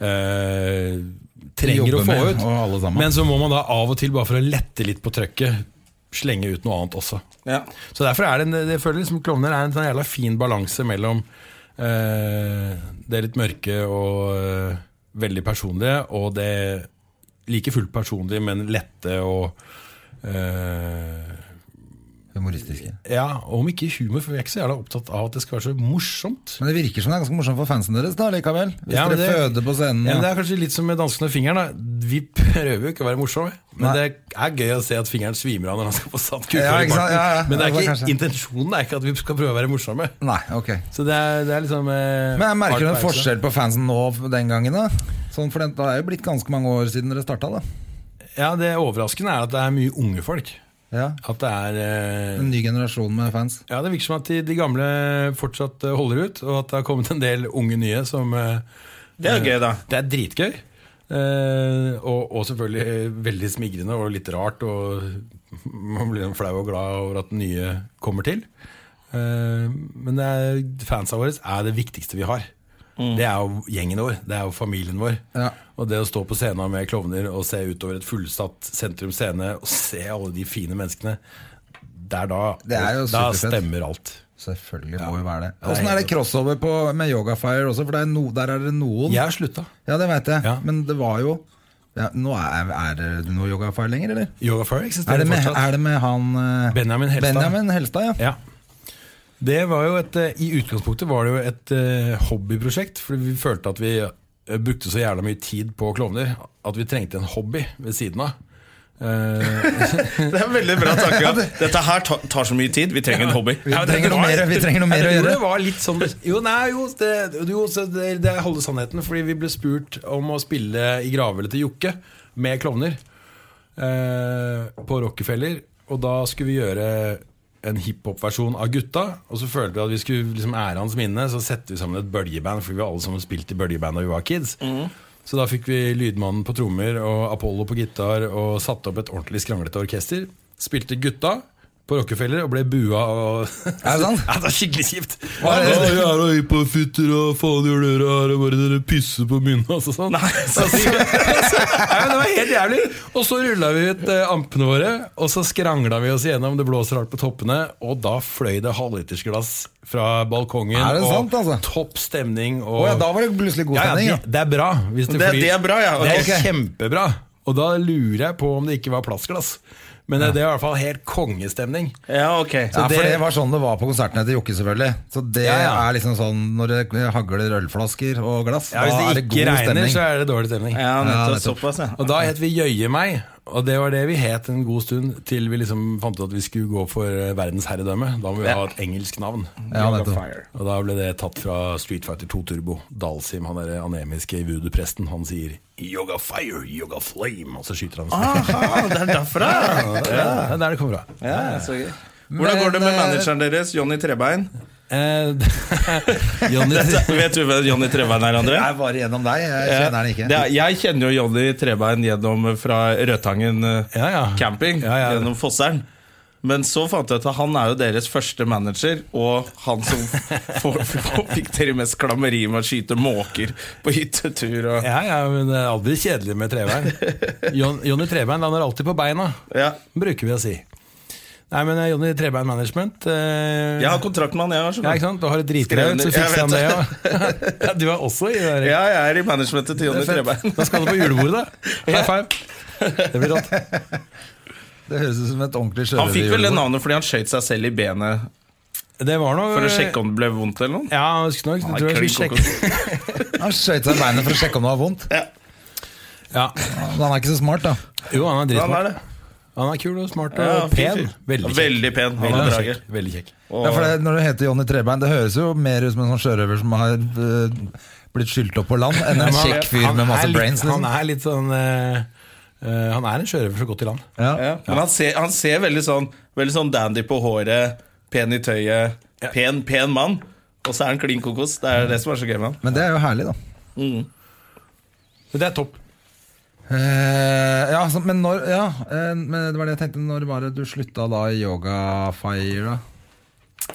S3: eh, trenger
S2: Jobber
S3: å få
S2: med,
S3: ut.
S2: og alle sammen.
S3: Men så må man da av og til, bare for å lette litt på trøkket, slenge ut noe annet også.
S1: Ja.
S3: Så derfor er det, en- jeg føler liksom Klovner er en sånn jævla fin balanse mellom eh, det litt mørke og eh, veldig personlige, og det like fullt personlige, men lette og eh,
S2: Humoristiske.
S3: ja, og om ikke humor, for vi er ikke så jævla opptatt av at det skal være så morsomt.
S2: Men det virker som det er ganske morsomt for fansen deres da, likevel. Hvis
S3: Ja,
S2: dere
S3: men det-
S2: føder på scenen.
S3: Ja, men det er kanskje litt som med danskene og fingeren. Da. Vi prøver jo ikke å være morsomme, men
S2: Nei.
S3: det er gøy å se at fingeren svimer av når han skal få satt kuka
S2: Ja,
S3: i
S2: ikke sant?
S3: barten.
S2: Ja, ja. Ja,
S3: Men det er
S2: det
S3: ikke,
S2: var kanskje-
S3: intensjonen er ikke at vi skal prøve å være morsomme.
S2: Nei, ok.
S3: Så det er, det er liksom eh,
S2: Men jeg merker du
S3: art
S2: en
S3: på
S2: forskjell på fansen nå og den gangen da? Sånn, for det, det er jo blitt ganske mange år siden dere starta da.
S3: else. Ja, Det overraskende er at det er mye unge folk.
S2: Ja.
S3: At det er eh,
S2: En ny generasjon med fans.
S3: Ja, Det virker som at de, de gamle fortsatt eh, holder ut, og at det har kommet en del unge nye som eh,
S1: Det er jo gøy, da.
S3: Det er dritgøy. Eh, og, og selvfølgelig veldig smigrende og litt rart. Og man blir flau og glad over at nye kommer til. Eh, men det er, fansa våre er det viktigste vi har. Det er jo gjengen vår, det er jo familien vår.
S2: Ja.
S3: Og det å stå på scenen med klovner og se utover et fullsatt sentrum scene og se alle de fine menneskene, det er da,
S2: Det er jo
S3: da
S2: superfett.
S3: stemmer alt.
S2: Selvfølgelig må jo være det.
S3: Ja,
S2: Åssen er det crossover på, med Yogafire også? For det er no, der er det noen
S3: Jeg har slutta.
S2: Ja, det veit jeg.
S3: Ja.
S2: Men det var jo ja, nå er, er det noe Yogafire lenger, eller?
S3: Yogafire
S2: Er
S3: eksisterer
S2: det, med,
S3: fortsatt.
S2: er det med han eh,
S3: Benjamin Helstad.
S2: Benjamin Helstad, ja.
S3: Ja. Det var jo et, eh, I utgangspunktet var det jo et eh, hobbyprosjekt, fordi vi følte at vi eh, brukte så jævla mye tid på klovner at vi trengte en hobby ved siden av. Eh,
S1: Det er veldig bra tanke. Dette her ta- tar så mye tid. Vi trenger en hobby.
S2: Vi, trenger noe mer, vi trenger noe mer å
S3: Jeg tror
S2: gjøre.
S3: Det var litt sånn Jo, nei, jo, det, jo så det, det holder sannheten. Fordi vi ble spurt om å spille i gravhvelvet til Jokke med klovner eh, på Rockefeller. Og da skulle vi gjøre en hiphop-versjon av Gutta. Og så følte vi at vi skulle liksom ære hans minne, så setter vi sammen et bølgeband. Fordi vi har alle sammen spilt i bølgeband da vi var kids. Så da fikk vi Lydmannen på trommer og Apollo på gitar og satte opp et ordentlig skranglete orkester. Spilte Gutta på Rockefeller og ble bua og
S2: Er det sant?
S3: ja, det er skikkelig kjipt.
S2: Hva er det?
S3: Ja, jeg er og hypafutter og faen gjør dere her og bare dere pisser på munnen og sånn. Nei, men det var helt jævlig. Og så rulla vi ut eh, ampene våre, og så skrangla vi oss igjennom. Det blåser hardt på toppene, og da fløy det halvlitersglass fra balkongen.
S2: Er det
S3: og
S2: sant, altså?
S3: Topp stemning. Og...
S2: Å ja, da var det plutselig god
S3: Ja,
S2: stemning.
S3: ja,
S2: Ja,
S3: det, det er bra. Hvis det,
S1: Det-
S3: flyr.
S1: det er bra, ja.
S3: Det er
S2: Ok.
S3: kjempebra. Og da lurer jeg på om det ikke var plastglass. Men eh, det er i hvert fall helt kongestemning.
S1: Ja, ok
S2: ja,
S3: det-
S2: for det var sånn det var på konsertene til Jokke, selvfølgelig. Så det
S3: Ja, ja.
S2: er liksom sånn når det hagler ølflasker og glass,
S3: Ja, hvis
S2: da er
S3: det
S2: det
S3: ikke
S2: god
S3: regner,
S2: stemning.
S3: så er det dårlig stemning.
S1: Ja,
S2: Ja,
S1: nettopp.
S2: nettopp.
S1: Såpass, ja.
S3: Og da het vi Jøye meg, og det var det vi het en god stund til vi liksom fant ut at vi skulle gå for eh, verdensherredømme. Da må vi
S1: Ja.
S3: ha et engelsk navn.
S2: Ja, nettopp.
S3: Og da ble det tatt fra Street Fighter 2 Turbo. Dalsim, han der anemiske voodoo-presten, han sier 'Yoga Fire, Yoga Flame', og så skyter han.
S1: Aha, det er derfra!
S3: Ja, det er der det kommer fra.
S1: Ah, Ja, så gøy. Hvordan går det med
S2: Men, eh,
S1: manageren deres, Jonny Trebein?
S3: Eh, Johnny,
S1: Vet du hvem Jonny Trebein er, André?
S2: Jeg er bare gjennom deg, jeg kjenner den ikke.
S1: Det er, jeg kjenner jo Jonny Trebein gjennom eh, fra Rødtangen eh,
S3: Ja, ja.
S1: camping.
S3: Ja, ja.
S1: Gjennom Fossern. Men så fant jeg ut at han er jo deres første manager, og han som får, får, fikk dere mest klammeri med å skyte måker på hyttetur og
S3: ja, ja, men det er aldri kjedelig med trebein. Jon, Jonny Trebein lander alltid på beina,
S1: ja.
S3: bruker vi å si. Nei, men eh, Jonny Trebein Management eh,
S1: Jeg har kontrakt med han, jeg. Har,
S3: Ja,
S1: skjønner
S3: ikke
S1: du.
S3: sant? Du har et dritbra ut, så
S1: Skrevet,
S3: fikser han det
S1: jeg
S3: òg. Ja, du er også i det der.
S1: ja, jeg er i managementet til
S3: Det
S1: Jonny
S3: er fett.
S1: Trebein.
S3: Da skal du på julebordet, da. High five. Det blir rått.
S2: Det høres ut som et ordentlig
S1: Han fikk vel det
S2: sjørøverjulebord.
S1: navnet fordi han skjøt seg selv i benet
S3: Det var noe
S1: for å sjekke om det ble vondt eller noe.
S3: Øh. Ja, husker nok.
S1: Nei,
S3: Jeg tror jeg
S1: klin
S3: skulle
S1: kokos.
S3: sjekke.
S2: Han skøyt seg i beinet for å sjekke om det var vondt.
S3: Ja.
S2: Men han er ikke så smart, da.
S3: Jo, han er
S1: Ja, han
S3: dritsmart.
S1: er det.
S3: Han er kul og smart
S1: Ja,
S3: og
S1: fin
S3: pen.
S1: fyr.
S3: Veldig kjekk.
S1: Veldig pen. Han er
S3: Veldig
S1: drager.
S3: kjekk. Veldig kjekk.
S2: Ja, for det, Når du heter Jonny Trebein, det høres jo mer ut som en sånn sjørøver som har eh, blitt skylt opp på land, enn en
S3: Men han-
S2: kjekk fyr
S3: han
S2: med
S3: er
S2: masse
S3: litt-
S2: brains. Liksom.
S3: Han er litt sånn eh, Eh, han er en sjørøver så godt i land.
S2: Ja.
S1: Ja. Men han ser, han ser veldig, sånn, veldig sånn dandy på håret, pen i tøyet, pen, pen mann. Og så er han klin kokos. Det er det som er så gøy med han.
S2: Men det er jo herlig, da.
S3: Så det er topp.
S2: Eh, ja, så, men når Ja, eh, men det var det jeg tenkte. Når var det du slutta da i Yogafire? da?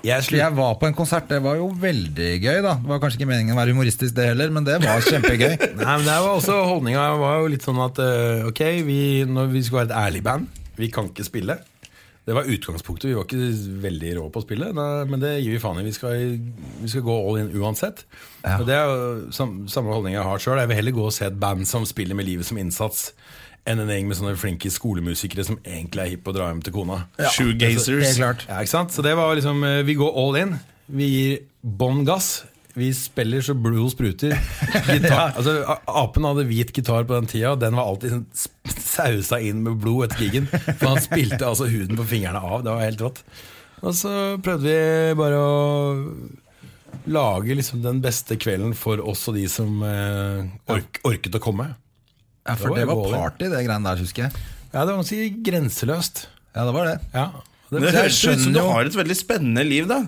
S3: Jeg
S2: For jeg var på en konsert, det var jo veldig gøy, da. Det var kanskje ikke meningen å være humoristisk, det heller, men det var kjempegøy.
S3: Nei, men det var også Holdninga var jo litt sånn at eh, ok, vi, når vi skulle være et ærlig band, vi kan ikke spille. Det var utgangspunktet. Vi var ikke veldig rå på å spille, da- men det gir vi faen i. Vi skal, vi skal gå all in uansett. Og Det er jo sam, samme holdning jeg har sjøl. Jeg vil heller gå og se et band som spiller med livet som innsats, enn en gjeng med sånne flinke skolemusikere som egentlig er hipp og drar hjem til kona.
S1: Shoegazers.
S2: Helt klart.
S3: Ja, ikke sant? Så det var liksom eh, Vi går all in. Vi gir bånn gass. Vi spiller så blodet spruter. Gitar, altså, a- apen hadde hvit gitar på den tida, og den var alltid sånn sp- sausa inn med blod etter gigen. For han spilte altså huden på fingrene av. Det var helt rått. Og så prøvde vi bare å lage liksom den beste kvelden for oss og de som eh, ork, orket å komme.
S2: Ja, for det var party, det greiene der, husker jeg.
S3: Ja, det var ganske grenseløst.
S2: Ja, det var det.
S3: Ja.
S1: Det
S2: Jeg
S1: høres ut som
S2: skjønner
S1: du
S2: jo-
S1: har et veldig spennende liv, da.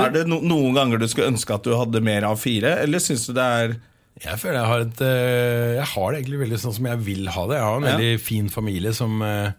S1: er det no noen ganger du skulle ønske at du hadde mer av fire, eller syns du det er
S3: Jeg føler jeg har, et, eh, jeg har det egentlig veldig sånn som jeg vil ha det. Jeg har en
S1: Ja.
S3: veldig fin familie som eh,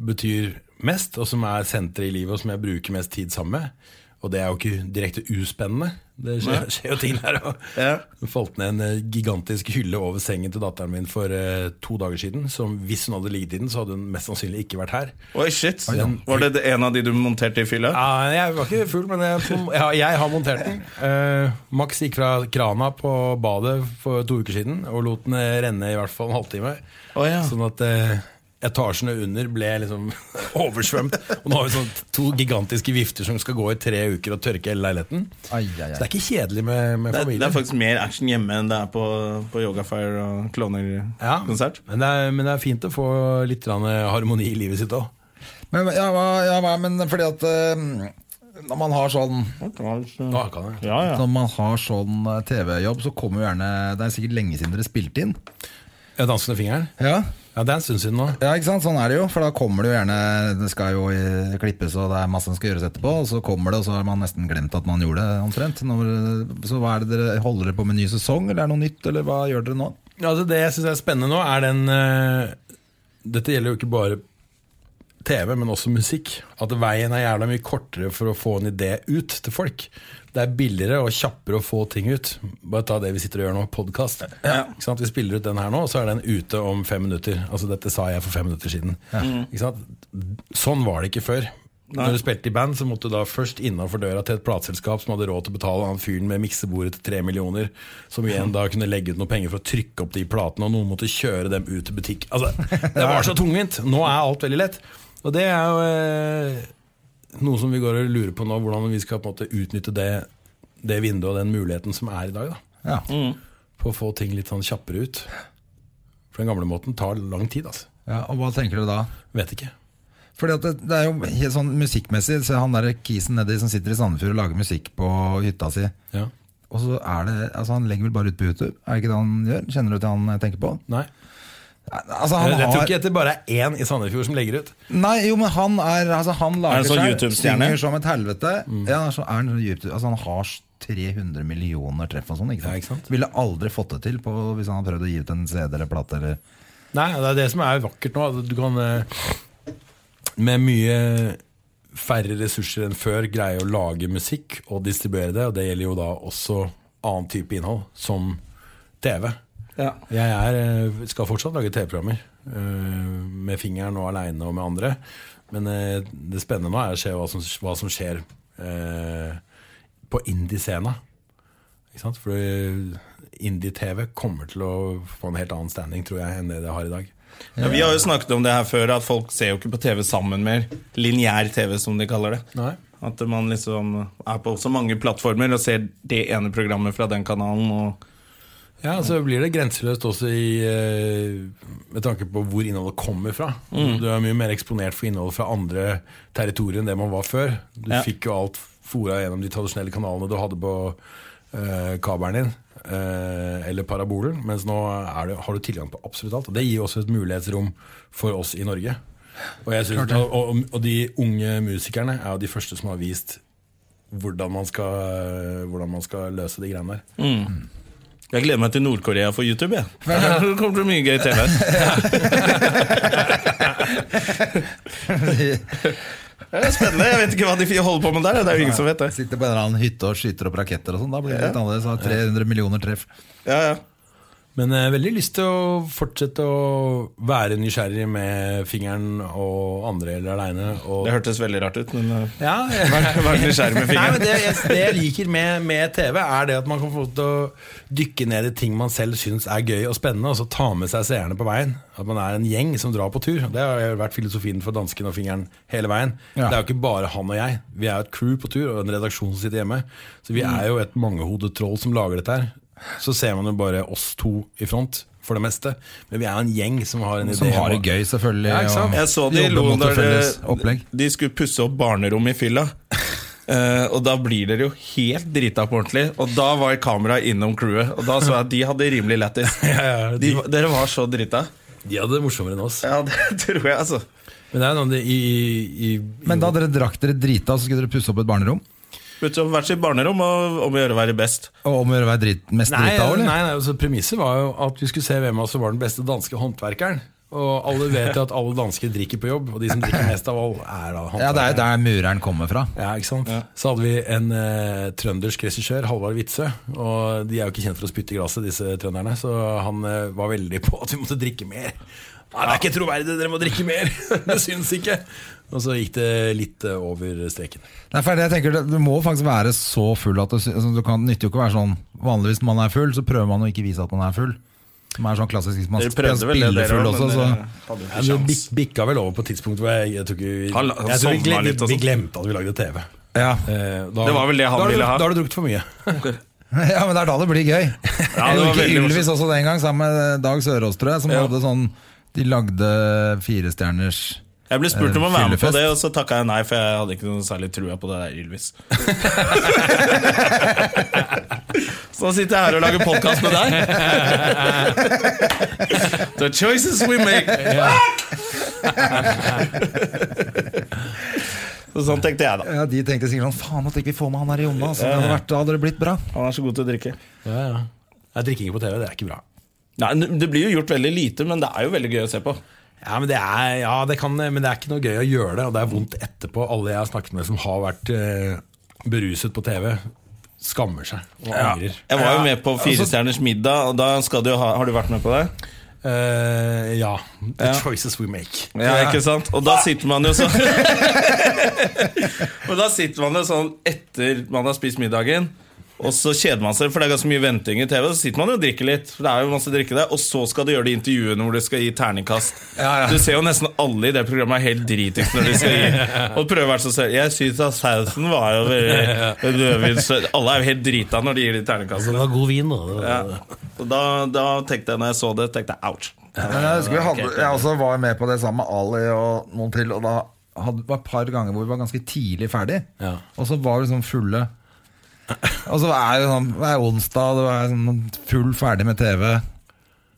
S3: betyr mest, og som er senteret i livet, og som jeg bruker mest tid sammen med. Og det er jo ikke direkte uspennende. Det skjer, skjer jo ting der òg.
S1: Ja.
S3: Det falt ned en eh, gigantisk hylle over sengen til datteren min for eh, to dager siden. Som hvis hun hadde ligget i den, så hadde hun mest sannsynlig ikke vært her.
S1: Oi, shit. Var det en av de du monterte i fylla?
S3: Ja, Ah, jeg var ikke full, men jeg, jeg, har- jeg har montert den. Eh, Max gikk fra krana på badet for to uker siden og lot den eh, renne i hvert fall en halvtime.
S1: Å, ja.
S3: Sånn at eh, etasjene under ble liksom oversvømt. Og nå har vi sånn to gigantiske vifter som skal gå i tre uker og tørke hele leiligheten.
S2: Ai, ai,
S3: Så det
S2: ai.
S3: er ikke kjedelig med,
S1: Det
S3: med
S1: er, det
S3: familie.
S1: er faktisk mer action hjemme enn det er på, på Yogafire og
S3: Ja,
S1: Kloner-konsert.
S3: men, det er, men det er fint å få litt grann, eh, harmoni i livet sitt òg.
S2: Men, ja, hva- ja, hva- men fordi at eh, når man har sånn
S3: Ja, kan jeg.
S1: eh, Ja, ja.
S2: Når man har sånn eh, TV-jobb, så kommer jo gjerne Det er sikkert lenge siden dere spilte inn.
S3: Jeg danser med fingeren.
S2: Ja,
S3: Ja, Det er en stund siden nå.
S2: Ja, ikke sant? Sånn er det jo, for da kommer det jo gjerne Det skal jo eh, klippes, og det er masse som skal gjøres etterpå. Og så kommer det, og så har man nesten glemt at man gjorde det, omtrent. Når, så hva er det dere Holder dere på med ny sesong, eller er det noe nytt, eller hva gjør dere nå?
S3: Altså Det jeg syns er spennende nå, er den eh, Dette gjelder jo ikke bare TV, men også musikk. At veien er jævla mye kortere for å få en idé ut til folk. Det er billigere og kjappere å få ting ut. Bare ta det vi sitter og gjør nå, podkast. Ikke sant? Vi spiller ut den her nå, og så er den ute om fem minutter. Altså Dette sa jeg for fem minutter siden. Ikke sant? Sånn var det ikke før. Når du spilte i band, så måtte du da først innafor døra til et plateselskap som hadde råd til å betale han fyren med miksebordet til tre millioner, som igjen da kunne legge ut noen penger for å trykke opp de platene, og noen måtte kjøre dem ut til butikk. Altså, Det var så tungvint! Nå er alt veldig lett. Og det er jo eh, noe som vi går og lurer på nå, hvordan vi skal på en måte utnytte det, det vinduet og den muligheten som er i dag, da,
S2: Ja.
S1: Mm.
S3: på å få ting litt sånn kjappere ut. For den gamle måten tar lang tid, altså.
S2: ja, Og hva tenker dere da?
S3: Vet ikke.
S2: Fordi at det, det er jo helt sånn musikkmessig så Han der kisen nedi som sitter i Sandefjord og lager musikk på hytta si.
S3: Ja.
S2: Og så er det, altså Han legger vel bare ut på YouTube? Er det ikke det han gjør? Kjenner du til han jeg tenker på?
S3: Nei.
S2: Altså, han
S3: Jeg, jeg tror
S2: har-
S3: ikke det bare er én i Sandefjord som legger ut.
S2: Nei, jo, men han er altså, Han
S1: Er han
S2: lager
S1: sånn
S2: seg
S1: YouTube-stjerne?
S2: synger som et helvete.
S3: Mm.
S2: Ja, så er Han sånn YouTube altså, Han har 300 millioner treff og sånn. Ikke sant?
S3: Ja, ikke sant?
S2: Ville aldri fått det til på, hvis han hadde prøvd å gi ut en CD eller plate. Eller.
S3: Nei, det er det som er vakkert nå. at Du kan eh, med mye færre ressurser enn før greie å lage musikk og distribuere det. Og det gjelder jo da også annen type innhold, som TV.
S1: Ja.
S3: Jeg er, eh, skal fortsatt lage TV-programmer. eh, Med fingeren og aleine og med andre. Men eh, det spennende nå er å se hva som, hva som skjer eh, på indie-scena. Ikke sant? For indie-TV kommer til å få en helt annen standing, tror jeg, enn det det har i dag.
S1: Ja, vi har jo snakket om det her før, at folk ser jo ikke på TV sammen mer. Lineær TV, som de kaller det.
S3: Nei.
S1: At man liksom er på så mange plattformer og ser det ene programmet fra den kanalen. Og
S3: Ja, så blir det grenseløst også i, eh, med tanke på hvor innholdet kommer fra. Du er mye mer eksponert for innholdet fra andre territorier enn det man var før. Du
S1: Ja.
S3: fikk jo alt fora gjennom de tradisjonelle kanalene du hadde på eh, kabelen din. eh, eller paraboler, mens nå er det, har du tilgang på absolutt alt. Og Det gir jo også et mulighetsrom for oss i Norge. Og, jeg synes, og, og, og de unge musikerne er jo de første som har vist hvordan man skal, hvordan man skal løse de greiene der.
S1: Jeg gleder meg til Nord-Korea for YouTube. jeg. Det kommer til mye gøy TV. Det er spennende. Jeg vet ikke hva de holder på med der. Det er jo ingen som vet det.
S2: Sitter på en eller annen hytte og skyter opp raketter og sånn. Da blir det litt annerledes. da. 300 millioner treff.
S1: Ja, ja.
S3: Men jeg har veldig lyst til å fortsette å være nysgjerrig med fingeren og andre eller aleine.
S1: Det hørtes veldig rart ut, men eh,
S3: Ja,
S1: vær nysgjerrig med
S3: Nei, men
S1: fingeren.
S3: det, jeg, det jeg liker med, med TV, er det at man kan få lov til å dykke ned i ting man selv syns er gøy og spennende, og så ta med seg seerne på veien. At man er en gjeng som drar på tur. Det har jo vært filosofien for dansken og fingeren hele veien.
S2: Ja.
S3: Det er jo ikke bare han og jeg. Vi er jo et crew på tur, og en redaksjon som sitter hjemme. Så vi er jo et mangehodet troll som lager dette her. Så ser man jo bare oss to i front, for det meste. Men vi er jo en gjeng som har en idé.
S2: Som har
S3: om-
S2: det gøy, selvfølgelig.
S3: Ja, ikke sant?
S2: og
S1: Jeg så de
S2: jobber
S1: lo
S2: mot et
S1: når
S2: felles
S1: de,
S2: opplegg.
S1: de skulle pusse opp barnerommet i fylla. Eh, og da blir dere jo helt drita på ordentlig. Og da var kameraet innom crewet, og da så jeg at de hadde rimelig lættis.
S3: ja,
S1: De, var- dere var så drita.
S3: De hadde det morsommere enn oss.
S1: Ja, det tror jeg, altså.
S3: Men det er noe det i, i, i
S2: Men da dere drakk dere drita, så skulle dere pusse opp et barnerom?
S1: Putte opp hvert sitt barnerom og om å gjøre å være best.
S2: Og om å gjøre å være drit, mest
S3: Nei,
S2: drita,
S3: nei,
S2: eller?
S3: nei altså, premisset var jo at vi skulle se hvem av oss som var den beste danske håndverkeren. Og alle vet jo at alle dansker drikker på jobb, og de som drikker mest av alle, er
S2: Ja, det er
S3: da
S2: jo
S3: håndverkere.
S2: der mureren kommer fra.
S3: Ja, ikke sant? Så hadde vi en eh, trøndersk regissør, Halvard Witzøe. Og de er jo ikke kjent for å spytte i glasset, disse trønderne. Så han eh, var veldig på at vi måtte drikke mer. Nei, det er ikke troverdig, dere må drikke mer! det syns ikke! Og så gikk det litt eh, over streken.
S2: Nei, for jeg tenker, Du må faktisk være så full at du, sy- altså, du kan, nytter jo ikke å være sånn Vanligvis når man er full, så prøver man å ikke vise at man er full. Som er sånn klassisk hvis man
S1: Dere
S2: sp-
S1: prøvde vel det,
S2: spiller
S1: dere
S2: full
S1: òg,
S2: også. Så.
S1: men dere hadde jo
S3: Ja,
S1: ikke
S3: du
S1: sjans.
S3: bik- bikka vel over på et tidspunkt hvor jeg, jeg tror ikke
S1: Han-
S3: vi,
S1: han
S3: jeg tror vi,
S1: sovna
S3: glem,
S1: litt og
S3: vi
S1: sånn.
S3: glemte at vi lagde TV.
S2: Ja.
S3: Eh, da-
S1: Det var vel det han
S3: da har du-
S1: ville ha.
S3: Da har du drukket for mye.
S2: ja, men det er da det blir gøy.
S1: Ja, det
S2: jeg
S1: var
S2: gikk
S1: veldig
S2: Ylvis også den gang, sammen med eh, Dag Sørås, tror jeg, som
S1: Ja.
S2: hadde sånn De lagde firestjerners
S1: Jeg ble spurt om å være med på
S2: Fyllefest.
S1: det, og så takka jeg nei, for jeg hadde ikke noe særlig trua på det der Ylvis. så nå sitter jeg her og lager podkast med deg. The choices we make. så sånn tenkte jeg, da.
S2: Ja, De tenkte sikkert sånn Faen at ikke vi får med han her Jonna. Altså, det hadde vært, da hadde det blitt bra.
S1: Han er så god til å drikke.
S3: Ja, ja. Jeg drikker ikke på TV, det er ikke bra.
S1: Nei, Det blir jo gjort veldig lite, men det er jo veldig gøy å se på.
S3: Ja, men det, er, ja, det kan, men det er ikke noe gøy å gjøre det, og det er vondt etterpå. Alle jeg har snakket med som har vært eh, beruset på TV, skammer seg og angrer.
S1: Jeg var jo med på Firestjerners middag, og da skal du jo ha, har du vært med på det?
S3: Eh, ja. The choices we make.
S1: Ja, ikke sant? Og da sitter man jo sånn Og da sitter man jo sånn etter man har spist middagen, og så kjeder man seg, for det er ganske mye venting i TV. Så sitter man jo og drikker litt, for det er jo masse drikke der, og så skal du gjøre de intervjuene hvor du skal gi terningkast. Du ser jo nesten alle i det programmet er helt dritings når de skal gi. Og prøver å være så seriøs. Jeg syns at sausen var jo veldig rødvins- Alle er jo helt drita når de gir de terningkastene.
S3: var god vin, da.
S1: Ja. Og da, da tenkte jeg, når jeg så det, tenkte jeg ouch.
S2: Men jeg husker vi hadde, jeg også var med på det sammen med Ali og noen til, og da hadde, var et par ganger hvor vi var ganske tidlig ferdig.
S3: Ja.
S2: Og så var vi liksom fulle. Og så er det sånn, det er onsdag, det er sånn full ferdig med TV.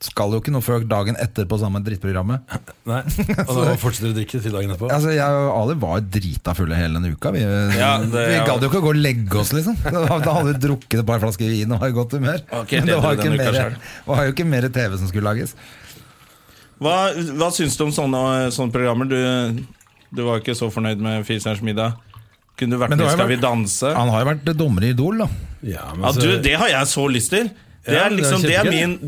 S2: Skal jo ikke noe før dagen etter på samme drittprogrammet.
S3: Nei. Og da fortsetter du å drikke til dagen etterpå.
S2: Altså, jeg og Ali var drita fulle hele denne uka. Vi,
S1: Ja, det-
S2: vi gadd jo ikke å gå og legge oss, liksom. Da hadde vi drukket et par flasker vin og var i godt humør.
S1: Ok,
S2: Men det var,
S1: det dro
S2: jo ikke
S1: denne uka
S2: mer, var jo ikke mer TV som skulle lages.
S1: Hva, hva syns du om sånne, sånne programmer? Du, du var ikke så fornøyd med Firestjerners middag. Kunne du vært
S2: Men det
S1: med i
S2: har jo
S1: Skal vi
S2: vært-
S1: danse?
S2: Han har jo vært dommer i Idol, da.
S3: Ja, men
S1: Ja,
S3: så-
S1: du, det har jeg så lyst til! Det
S3: altså- Ja,
S1: er liksom, det
S3: det er
S1: er
S3: kjempegøy.
S1: min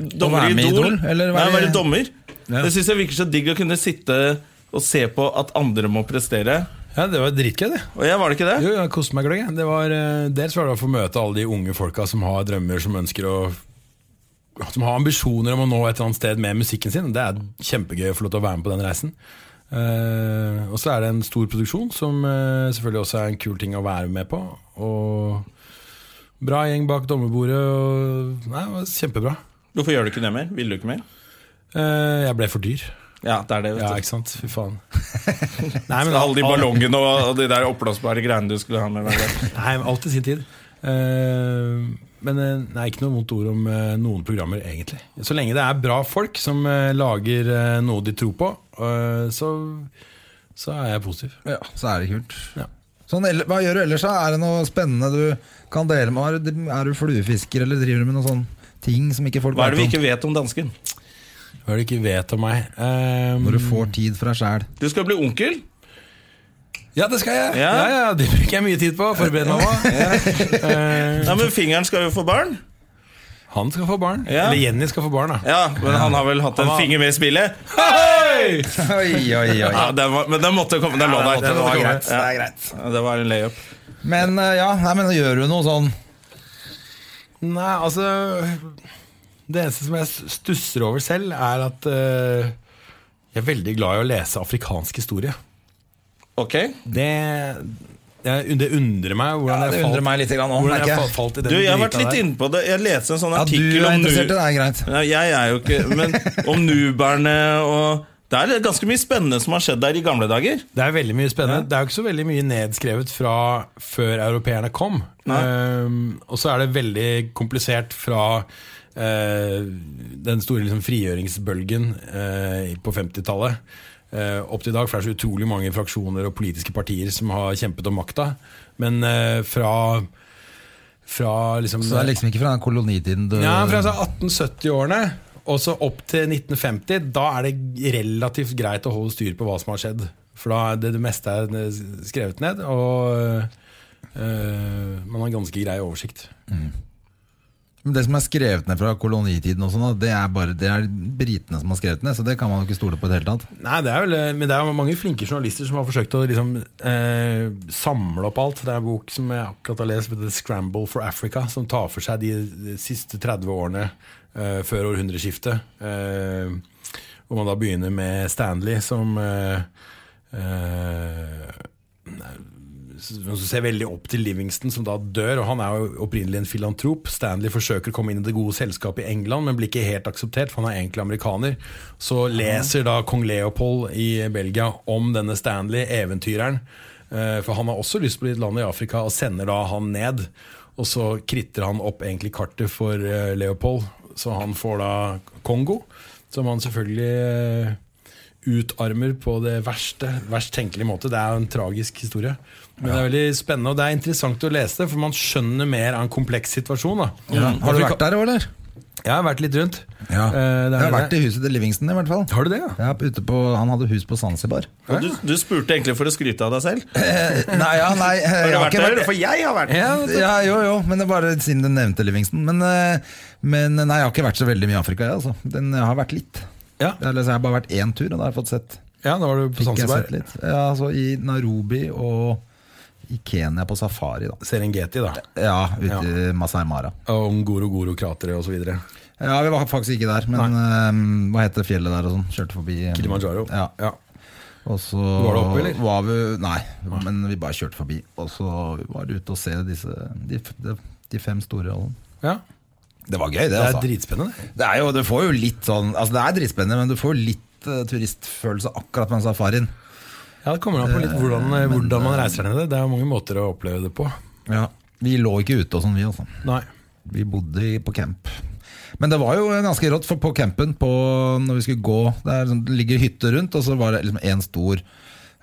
S1: det, Dommer
S2: være
S1: i
S2: med i
S1: Idol?
S2: Idol, eller
S1: Nei,
S2: være-
S1: være dommer.
S2: Ja.
S1: Det syns jeg virker så digg å kunne sitte og se på at andre må prestere.
S3: ja, det var dritgøy, det.
S1: Og jeg var det ikke det?
S3: Jo, jeg koste meg gløgg. jeg. Det var, eh, dels var det å få møte alle de unge folka som har drømmer, som ønsker å Som har ambisjoner om å nå et eller annet sted med musikken sin. Det er kjempegøy å få lov til å være med på den reisen. Eh, og så er det en stor produksjon, som eh, selvfølgelig også er en kul ting å være med på. Og bra gjeng bak dommerbordet. Og, nei, det var kjempebra.
S1: Hvorfor gjør du ikke det mer? Vil du ikke mer?
S3: Eh, jeg ble for dyr.
S1: Ja, det er det,
S3: Ja,
S1: vet du.
S3: ikke sant? Fy faen. Nei,
S1: Alle de ballongene og, og de der oppblåsbare greiene du skulle ha med. hver dag.
S3: Nei, alt i sin tid. Eh, men eh, det er ikke noe vondt ord om eh, noen programmer, egentlig. Så lenge det er bra folk som eh, lager eh, noe de tror på, eh, så, så er jeg positiv.
S2: Ja, så er det kult.
S3: Ja.
S2: Sånn, ell- hva gjør du ellers? da? Er det noe spennende du kan dele med? Er du, er du fluefisker, eller driver du med noen sånne ting som ikke folk
S1: Hva er det vi
S2: vet om?
S1: ikke vet om dansken?
S3: Hva er det du ikke vet om meg? Eh,
S2: Når du får tid fra sjæl.
S1: Du skal bli onkel.
S3: Ja, det skal jeg! Ja.
S1: Ja.
S3: Ja, Det bruker jeg mye tid på. Forberede meg på.
S1: Nei, men Fingeren skal jo få barn.
S3: Han skal få barn.
S1: Ja.
S3: Eller Jenny skal få barn, da.
S1: Ja, Men han har vel hatt en
S3: har-
S1: finger med i spillet?
S3: Hei!
S2: Oi, oi, oi.
S1: Ja, den var, men den måtte komme. Den lå der.
S3: den måtte komme.
S1: Ja. Ja, det var en layup.
S2: Men eh, ja, nei, men gjør du noe sånn
S3: Nei, altså Det eneste som jeg s- stusser over selv, er at eh, jeg er veldig glad i å lese afrikansk historie.
S1: Ok.
S3: Det, jeg, det undrer meg hvordan
S2: det
S3: jeg
S2: undrer
S3: falt,
S2: meg litt grann også,
S3: hvordan
S2: merker
S3: jeg
S2: jeg.
S3: fa- falt i den
S1: Du, jeg har vært
S3: drita
S1: litt
S3: der.
S1: inne på det. Jeg leste en sånn
S2: At du
S1: artikkel
S2: er
S1: om
S2: interessert i det,
S1: nu-
S2: er greit.
S1: Nei, Jeg er jo ikke Men om nuberne og Det er ganske mye spennende som har skjedd der i gamle dager.
S3: Det er veldig mye spennende. Det er jo ikke så veldig mye nedskrevet fra før europeerne kom. Ehm, og så er det veldig komplisert fra eh, den store liksom, frigjøringsbølgen eh, på 50-tallet eh, opp til i dag. For det er så utrolig mange fraksjoner og politiske partier som har kjempet om makta. Men eh, fra, fra liksom,
S2: Så det er liksom ikke fra den kolonitiden du
S3: ja, fra altså 1870-årene og så opp til 1950, da er det relativt greit å holde styr på hva som har skjedd. For da er det, det meste er eh, skrevet ned, og eh, man har ganske grei oversikt.
S2: Men Det som er skrevet ned fra kolonitiden, og sånn, da, det er bare det er britene som har skrevet ned. Så det kan man jo ikke stole på i det hele tatt.
S3: Nei, det er vel, eh, men det er jo mange flinke journalister som har forsøkt å liksom, eh, samle opp alt. Det er en bok som jeg akkurat har lest, som heter 'Scramble for Africa', som tar for seg de, de siste 30 årene eh, før århundreskiftet. Eh, hvor man da begynner med Stanley, som eh, eh, som ser veldig opp til Livingston, som da dør. og Han er jo opprinnelig en filantrop. Stanley forsøker å komme inn i det gode selskapet i England, men blir ikke helt akseptert, for han er egentlig amerikaner. Så leser da kong Leopold i Belgia om denne Stanley, eventyreren. Eh, For han har også lyst på litt land i Afrika, og sender da han ned. Og så kritter han opp egentlig kartet for eh, Leopold, så han får da Kongo, som han selvfølgelig eh, utarmer på det verste, verst tenkelige måte. Det er jo en tragisk historie. Men det er veldig spennende, og det er interessant å lese det, for man skjønner mer av en kompleks situasjon. Da.
S2: Har du vært der òg, eller?
S3: Jeg har vært litt rundt.
S2: Mm. Ja.
S3: Eh, det er
S2: Jeg har
S3: det.
S2: vært i huset til Livingston, i hvert fall.
S3: Har du det, ja?
S2: Ja, ute på, han hadde hus på Zanzibar.
S1: Og du, du spurte egentlig for å skryte av deg selv.
S2: Nei, ja, nei jeg
S1: Har du
S2: har
S1: vært
S2: ikke
S1: der?
S2: vært
S1: For jeg har vært der.
S2: ja, jo, jo, men det er bare siden du nevnte Livingston. Men, eh, men nei, jeg har ikke vært så veldig mye i Afrika, jeg, altså. Den, jeg har vært litt.
S3: Ja.
S2: Eller, så jeg har bare vært én tur, og da har jeg fått sett.
S3: Ja, da var du på
S2: Fikk jeg
S3: Zanzibar.
S2: sett litt. Ja, altså I Nairobi og i Kenya på safari, da.
S3: Serengeti, da.
S2: Ja, ute i Masai Mara.
S3: Og Ngoro-Goro-krateret osv.
S2: Ja, vi var faktisk ikke der, men eh, hva heter fjellet der og sånn? Kjørte forbi eh,
S3: Kilimanjaro.
S2: Ja.
S3: Ja.
S2: Og så
S3: Var det oppe, eller?
S2: var vi Nei, men vi bare kjørte forbi. Og så var vi ute og se disse de, de, de fem store rollene.
S3: Ja.
S2: Det var gøy, det.
S3: Det er
S2: altså.
S3: dritspennende. det.
S2: Det er jo, du får jo litt sånn Altså det er dritspennende, men du får litt eh, turistfølelse akkurat på den safarien.
S3: Ja, Det kommer an
S2: Eh,
S3: på litt hvordan, eh, hvordan man reiser ned. Det er jo mange måter å oppleve det på.
S2: Ja. Vi lå ikke ute og sånn, vi, altså.
S3: Nei.
S2: Vi bodde i- på camp. Men det var jo ganske rått, for på campen på, når vi skulle gå Det er sånn- det ligger hytter rundt, og så var det liksom en stor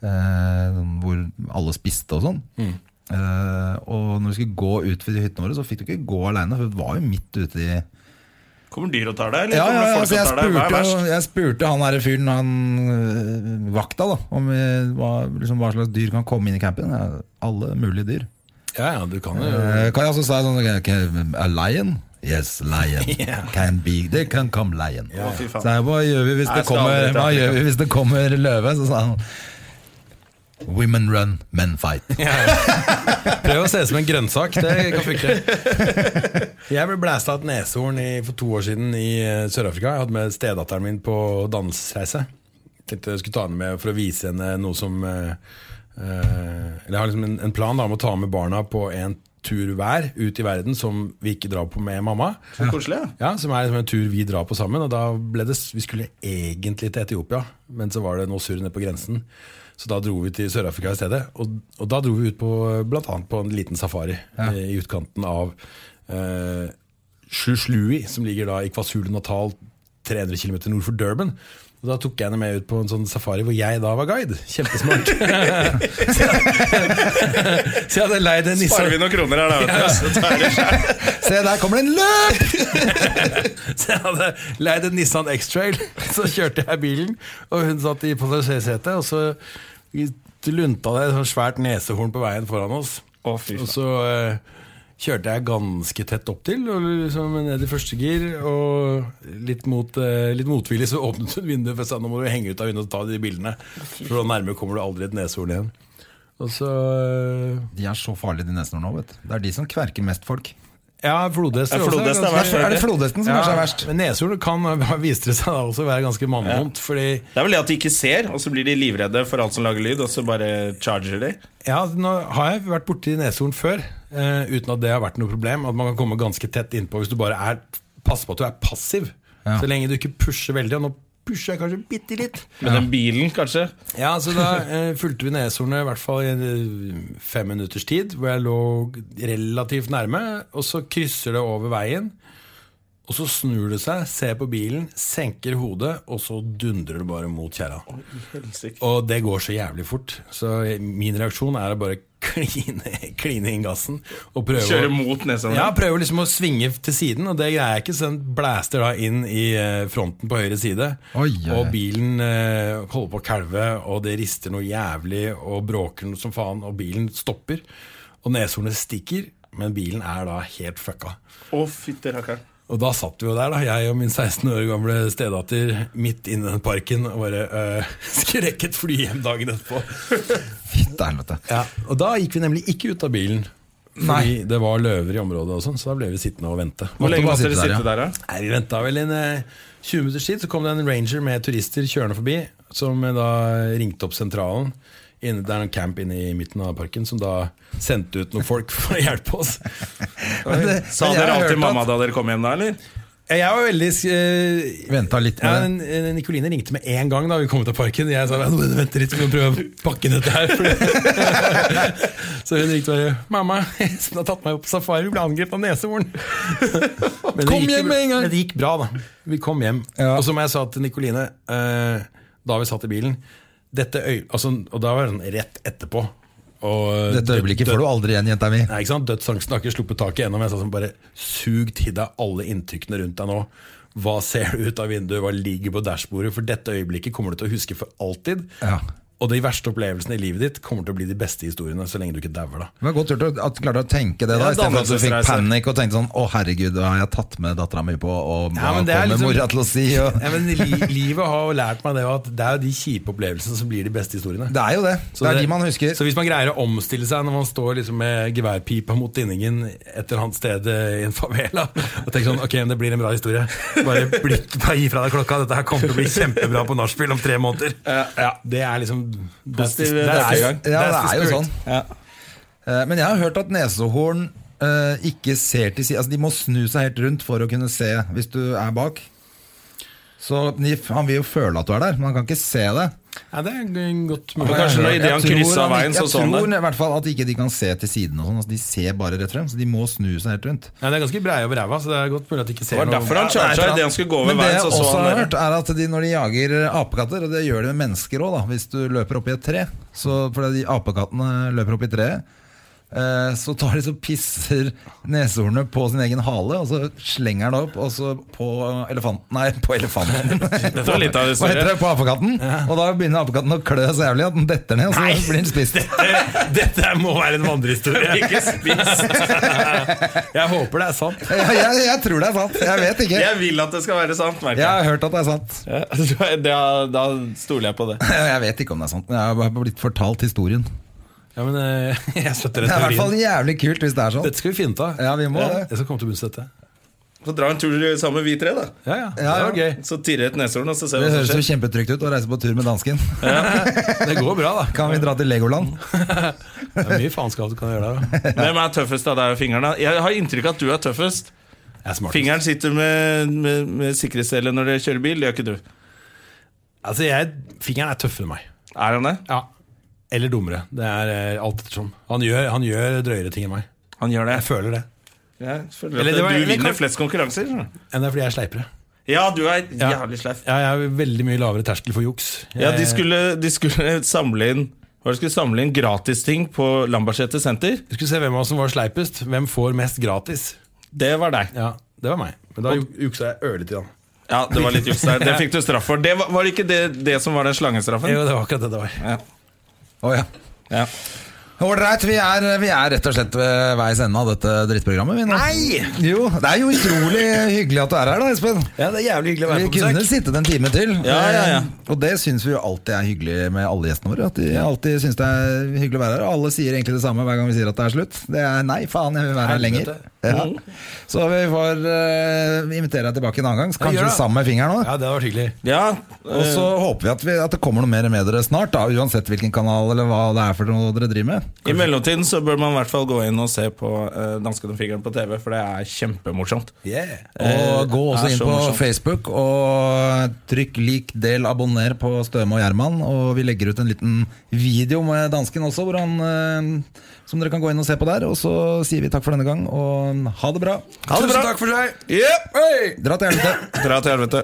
S2: eh, sånn hvor alle spiste og sånn.
S1: Mm.
S2: Eh, og når vi skulle gå ut ved de hyttene våre, så fikk du ikke gå aleine, for vi var jo midt ute i
S1: Kommer dyr og tar deg, eller
S2: ja, ja,
S1: kommer det
S2: ja,
S1: folk
S2: så jeg,
S1: og tar deg? Hva er
S2: spurte,
S1: verst?
S2: jo- jeg spurte han her fyren, han øh, vakta, da om vi, hva, liksom, hva slags dyr kan komme inn i campen. Ja, alle mulige dyr.
S3: Ja, ja, du kan jo
S2: Eh, Kan jeg også si sånn ok, A lion? Yes, lion. Can be, they can come lion.
S1: Å, fy
S2: Så
S1: faen.
S2: jeg, hva gjør vi hvis
S1: Nei,
S2: det
S1: jeg skal
S2: kommer,
S1: aldri til
S2: hva
S1: Afrika.
S2: gjør vi hvis det kommer løve? Så sa han Women run, men fight.
S3: Prøv å se ut som en grønnsak, det kan funke. Jeg ble blæsta av et neshorn i, for to år siden i eh, Sør-Afrika. Jeg hadde med stedatteren min på dannelsesreise. Tenkte jeg skulle ta henne med for å vise henne noe som eh, eh, Eller jeg har liksom en, en plan da, om å ta med barna på en tur hver ut i verden som vi ikke drar på med mamma.
S1: Så koselig, ja.
S3: Ja, Som er liksom en tur vi drar på sammen. Og da ble det, Vi skulle egentlig til Etiopia, men så var det noe surr nede på grensen. Så da dro vi til Sør-Afrika i stedet. Og, og da dro vi ut på bl.a. på en liten safari eh, i utkanten av eh, Slushlui, som ligger da i KwaZulu-Natal 300 km nord for Durban. Og Da tok jeg henne med ut på en sånn safari hvor jeg da var guide. Kjempesmart. så jeg- så jeg hadde leid en Nissan
S1: Sparer vi noen kroner her, da. vet du. Så tar vi-
S2: Se, der kommer det en løp!
S3: Så jeg hadde leid en Nissan X-Trail, så kjørte jeg bilen, og hun satt i passasjersetet, og så lunta det et sånt svært nesehorn på veien foran oss.
S1: Å, fy faen.
S3: og så eh, kjørte jeg ganske tett opp til, og liksom ned i første gir, og litt, mot, eh, litt motvillig så åpnet hun vinduet, for jeg sa nå må du henge ut av vinduet og ta de bildene, for så nærme kommer du aldri et nesehorn igjen. Og så eh,
S2: De er så farlige, de nesten nå, vet du. Det er de som kverker mest folk.
S3: Ja, flodhester
S1: Ja,
S3: også
S1: flodhest er
S3: ganske-
S1: verst,
S2: Er det flodhesten som kanskje er verst?
S3: Men neshorn kan viste det seg da også være ganske mannvondt. Fordi
S1: Det er vel det at de ikke ser, og så blir de livredde for alt som lager lyd, og så bare charger de.
S3: ja, nå har jeg vært borti neshorn før eh, uten at det har vært noe problem. At man kan komme ganske tett innpå hvis du bare er passer på at du er passiv.
S2: Ja.
S3: Så lenge du ikke pusher veldig. Og nå pusher jeg kanskje bitte litt.
S1: Men den bilen, kanskje?
S3: Ja, så da eh, fulgte vi neshornet i hvert fall i eh, fem minutters tid, hvor jeg lå relativt nærme, og så krysser det over veien. Og så snur det seg, ser på bilen, senker hodet, og så dundrer det bare mot kjerra. Og det går så jævlig fort. Så min reaksjon er å bare kline, kline inn gassen og prøve
S1: Kjører
S3: å
S1: mot nesa.
S3: ja, prøver liksom å svinge til siden, og det greier jeg ikke. Så den blæster da inn i eh, fronten på høyre side.
S2: Oi, oi, oi.
S3: Og bilen eh, holder på å kalve, og det rister noe jævlig, og bråker noe som faen, og bilen stopper. Og neshornet stikker, men bilen er da helt fucka.
S1: Å, fytti rakkeren.
S3: Og da satt vi jo der, da, jeg og min 16 år gamle stedatter midt inne i den parken og bare eh, skulle rekke et fly hjem dagen etterpå.
S2: Fytte helvete.
S3: Ja, og da gikk vi nemlig ikke ut av bilen. Fordi det var løver i området, og sånn, så da ble vi sittende og vente.
S1: Hvor lenge
S2: bare
S1: måtte dere
S2: sitte
S1: sitte
S2: der,
S1: der, da?
S3: Nei, Vi venta vel en eh, 20 minutters tid, så kom det en ranger med turister kjørende forbi. Som eh, da ringte opp sentralen. Inne, det er en camp inne i midten av parken som da sendte ut noen folk for å hjelpe oss.
S2: Men det-
S1: Sa
S2: men jeg har
S1: dere alt
S2: hørt
S1: til
S2: at-
S1: mamma da dere kom hjem da, eller?
S3: Jeg var veldig eh,
S2: Venta litt
S3: ja,
S2: med det.
S3: en- en- Nikoline ringte med en gang da vi kom ut av parken. Jeg sa «Vent, vent litt, vi må prøve å pakke inn dette her. for det- så hun ringte bare 'Mamma, Espen har tatt meg opp på safari, vi ble angrepet av neshorn'. Men det
S2: Kom
S3: gikk-
S2: hjem med en gang.
S3: Men det gikk bra, da. Vi kom hjem.
S2: Ja.
S3: Og som jeg sa til Nikoline eh, da vi satt i bilen dette øy, altså, Og da var det sånn rett etterpå. Og eh,
S2: Dette øyeblikket får du aldri igjen, jenta mi.
S3: Nei, ikke sant? Dødsangsten har ikke sluppet taket ennå, men jeg sa sånn bare sug til deg alle inntrykkene rundt deg nå. Hva ser du ut av vinduet, hva ligger på dashbordet? For dette øyeblikket kommer du til å huske for alltid.
S2: Ja.
S3: Og de verste opplevelsene i livet ditt kommer til å bli de beste historiene, så lenge du ikke dauer, da.
S2: Det var godt gjort at- at du klarte å tenke det da,
S1: Ja,
S2: istedenfor at du fikk
S1: dannelsesreise.
S2: panikk og tenkte sånn Å, herregud, hva har jeg tatt med dattera mi på, og hva
S3: Ja, men det er
S2: kommer
S3: liksom-
S2: mora til å si? Og...
S3: Ja, men li livet har jo lært meg det at det er jo de kjipe opplevelsene som blir de beste historiene.
S2: Det er jo det.
S3: Så
S2: det er de man husker.
S3: Så hvis man greier å omstille seg når man står liksom med geværpipa mot tinningen et eller annet sted eh, i en favela, og tenker sånn Ok, men det blir en bra historie. Bare, bli, bare gi fra deg klokka. Dette her kommer til å bli kjempebra på nachspiel om tre måneder. Ja, det er liksom
S1: Positiv-
S3: det er-
S1: positiv gang.
S2: Ja, det
S3: the
S2: er jo
S3: spirit.
S2: sånn. Eh, Men jeg har hørt at nesehorn eh, ikke ser til siden Altså, de må snu seg helt rundt for å kunne se hvis du er bak. Så Nif, han vil jo føle at du er der, men han kan ikke se det.
S3: Ja, det er godt
S1: Men
S3: mulig.
S1: kanskje når
S2: Jeg
S1: idet han
S2: tror
S1: kryssa
S2: han-
S1: veien, så
S2: Jeg
S1: så han
S2: tror
S1: det.
S2: i hvert fall at ikke de kan se til siden og sånn. Altså, de ser bare rett frem, så de må snu seg helt rundt.
S3: Ja, det er ganske breie over ræva, så det er godt mulig at de ikke
S1: Det
S3: ser
S1: var derfor han
S2: Ja, det er
S1: charga
S2: sant.
S1: idet han skulle gå over
S2: Men det
S1: veien.
S2: jeg
S1: så så
S2: også
S1: han
S2: har
S1: dere.
S2: hørt, er at de, når de jager apekatter, og det gjør de med mennesker òg, hvis du løper oppi et tre så, Fordi de apekattene løper oppi treet, eh, så tar de så pisser neshornene på sin egen hale, og så slenger den opp, og så på elefanten Nei, på elefanten.
S1: Dette var litt av
S2: Hva heter
S1: historien.
S2: det? På apekatten? Og da begynner apekatten å klø så jævlig at den detter ned, og så blir den spist.
S3: Dette må være en vandrehistorie.
S1: Ikke spis!
S3: Jeg håper det er sant.
S2: Jeg, jeg, jeg tror det er sant. Jeg vet ikke.
S1: Jeg vil at det skal være sant, merker
S2: Jeg
S1: jeg.
S2: har hørt at det er sant.
S1: Ja, Da, da stoler jeg på det.
S2: Jeg vet ikke om det er sant, men jeg har bare blitt fortalt historien.
S3: Ja, men eh, jeg støtter
S2: Det
S3: den
S2: er i hvert
S3: teorien.
S2: fall jævlig kult hvis det er sånn.
S3: Dette skal vi finne ut av.
S2: Ja, vi må det.
S3: Jeg skal komme til bunns i dette.
S1: Så dra en tur sammen med vi tre, da.
S3: Ja, ja.
S2: Ja,
S3: Det var gøy.
S1: Så tirre et neshorn, og så ser
S2: Det
S1: vi hva
S2: høres
S1: som
S2: jo
S1: skjer.
S2: kjempetrygt ut å reise på tur med dansken.
S3: Det går bra, da.
S2: Kan vi dra til Legoland?
S3: Det er mye faenskap du kan gjøre der. da.
S1: Hvem er tøffest av deg og fingeren? da? Jeg har inntrykk av at du er tøffest.
S3: Jeg er smartest.
S1: Fingeren sitter med, med, med sikkerhetsdelen når dere kjører bil, det gjør ikke du.
S3: Altså, jeg, fingeren er tøffere enn meg.
S1: Er han det?
S3: Ja. Eller dummere. Det er eh, alt ettersom. Han gjør, han gjør drøyere ting enn meg.
S1: Han gjør det.
S3: Jeg føler det.
S1: Jeg føler
S3: Eller
S1: at
S3: det var-
S1: du
S3: eller
S1: vinner
S3: kan-
S1: flest konkurranser. skjønner du.
S3: Enn det er fordi jeg er sleipere.
S1: Ja, du er
S3: Ja.
S1: jævlig sleip.
S3: Ja, jeg har veldig mye lavere terskel for juks. Jeg,
S1: Ja, de skulle, de skulle samle inn hva de skulle samle inn gratisting på Lambertseter senter.
S3: Vi skulle se hvem av oss som var sleipest. Hvem får mest gratis?
S1: Det var deg.
S3: Ja, det var meg. Men da ju- juksa jeg ørlite grann.
S1: Ja, Det var litt juks der. Det fikk du straff for. Det var, var det ikke det, det som var den slangestraffen?
S3: Jo, det var akkurat det det var.
S2: Å ja.
S1: Ja.
S2: Ålreit, vi, er- vi er rett og slett ved veis ende av dette drittprogrammet. Vi nå.
S1: Nei!
S2: Jo, Det er jo utrolig hyggelig at du er her, da, Espen.
S3: Ja, det er jævlig hyggelig
S2: Vi
S3: å være på
S2: kunne
S3: besøk.
S2: sittet en time til.
S1: Ja, ja, ja.
S2: Eh, Og det syns vi jo alltid er hyggelig med alle gjestene våre. At de alltid syns det er hyggelig å være her. Og alle sier egentlig det samme hver gang vi sier at det er slutt. Det er nei, faen, jeg vil være her lenger.
S3: Helvete. Mm.
S2: Ja. Så vi får eh, invitere deg tilbake en annen gang. så Kanskje
S3: gjør det.
S2: sammen med fingeren òg.
S3: Ja, det hadde vært hyggelig.
S1: Ja,
S2: Og så
S1: eh,
S2: håper vi at, vi at det kommer noe mer med dere snart, da, uansett hvilken kanal eller hva det er for noe dere driver med.
S1: I mellomtiden så bør man i hvert fall gå inn og se på uh, Dansken og fingeren på TV, for det er kjempemorsomt. Eh,
S2: Og gå også
S1: er
S2: inn
S1: så
S2: på
S1: morsomt.
S2: Facebook og trykk lik, del, abonner på Støme og Gjerman. Og vi legger ut en liten video med dansken også, hvor han, eh, som dere kan gå inn og se på der. Og så sier vi takk for denne gang, og ha det bra.
S1: Tusen takk for seg! Yep. Hey.
S2: Dra til helvete.
S1: Dra til helvete.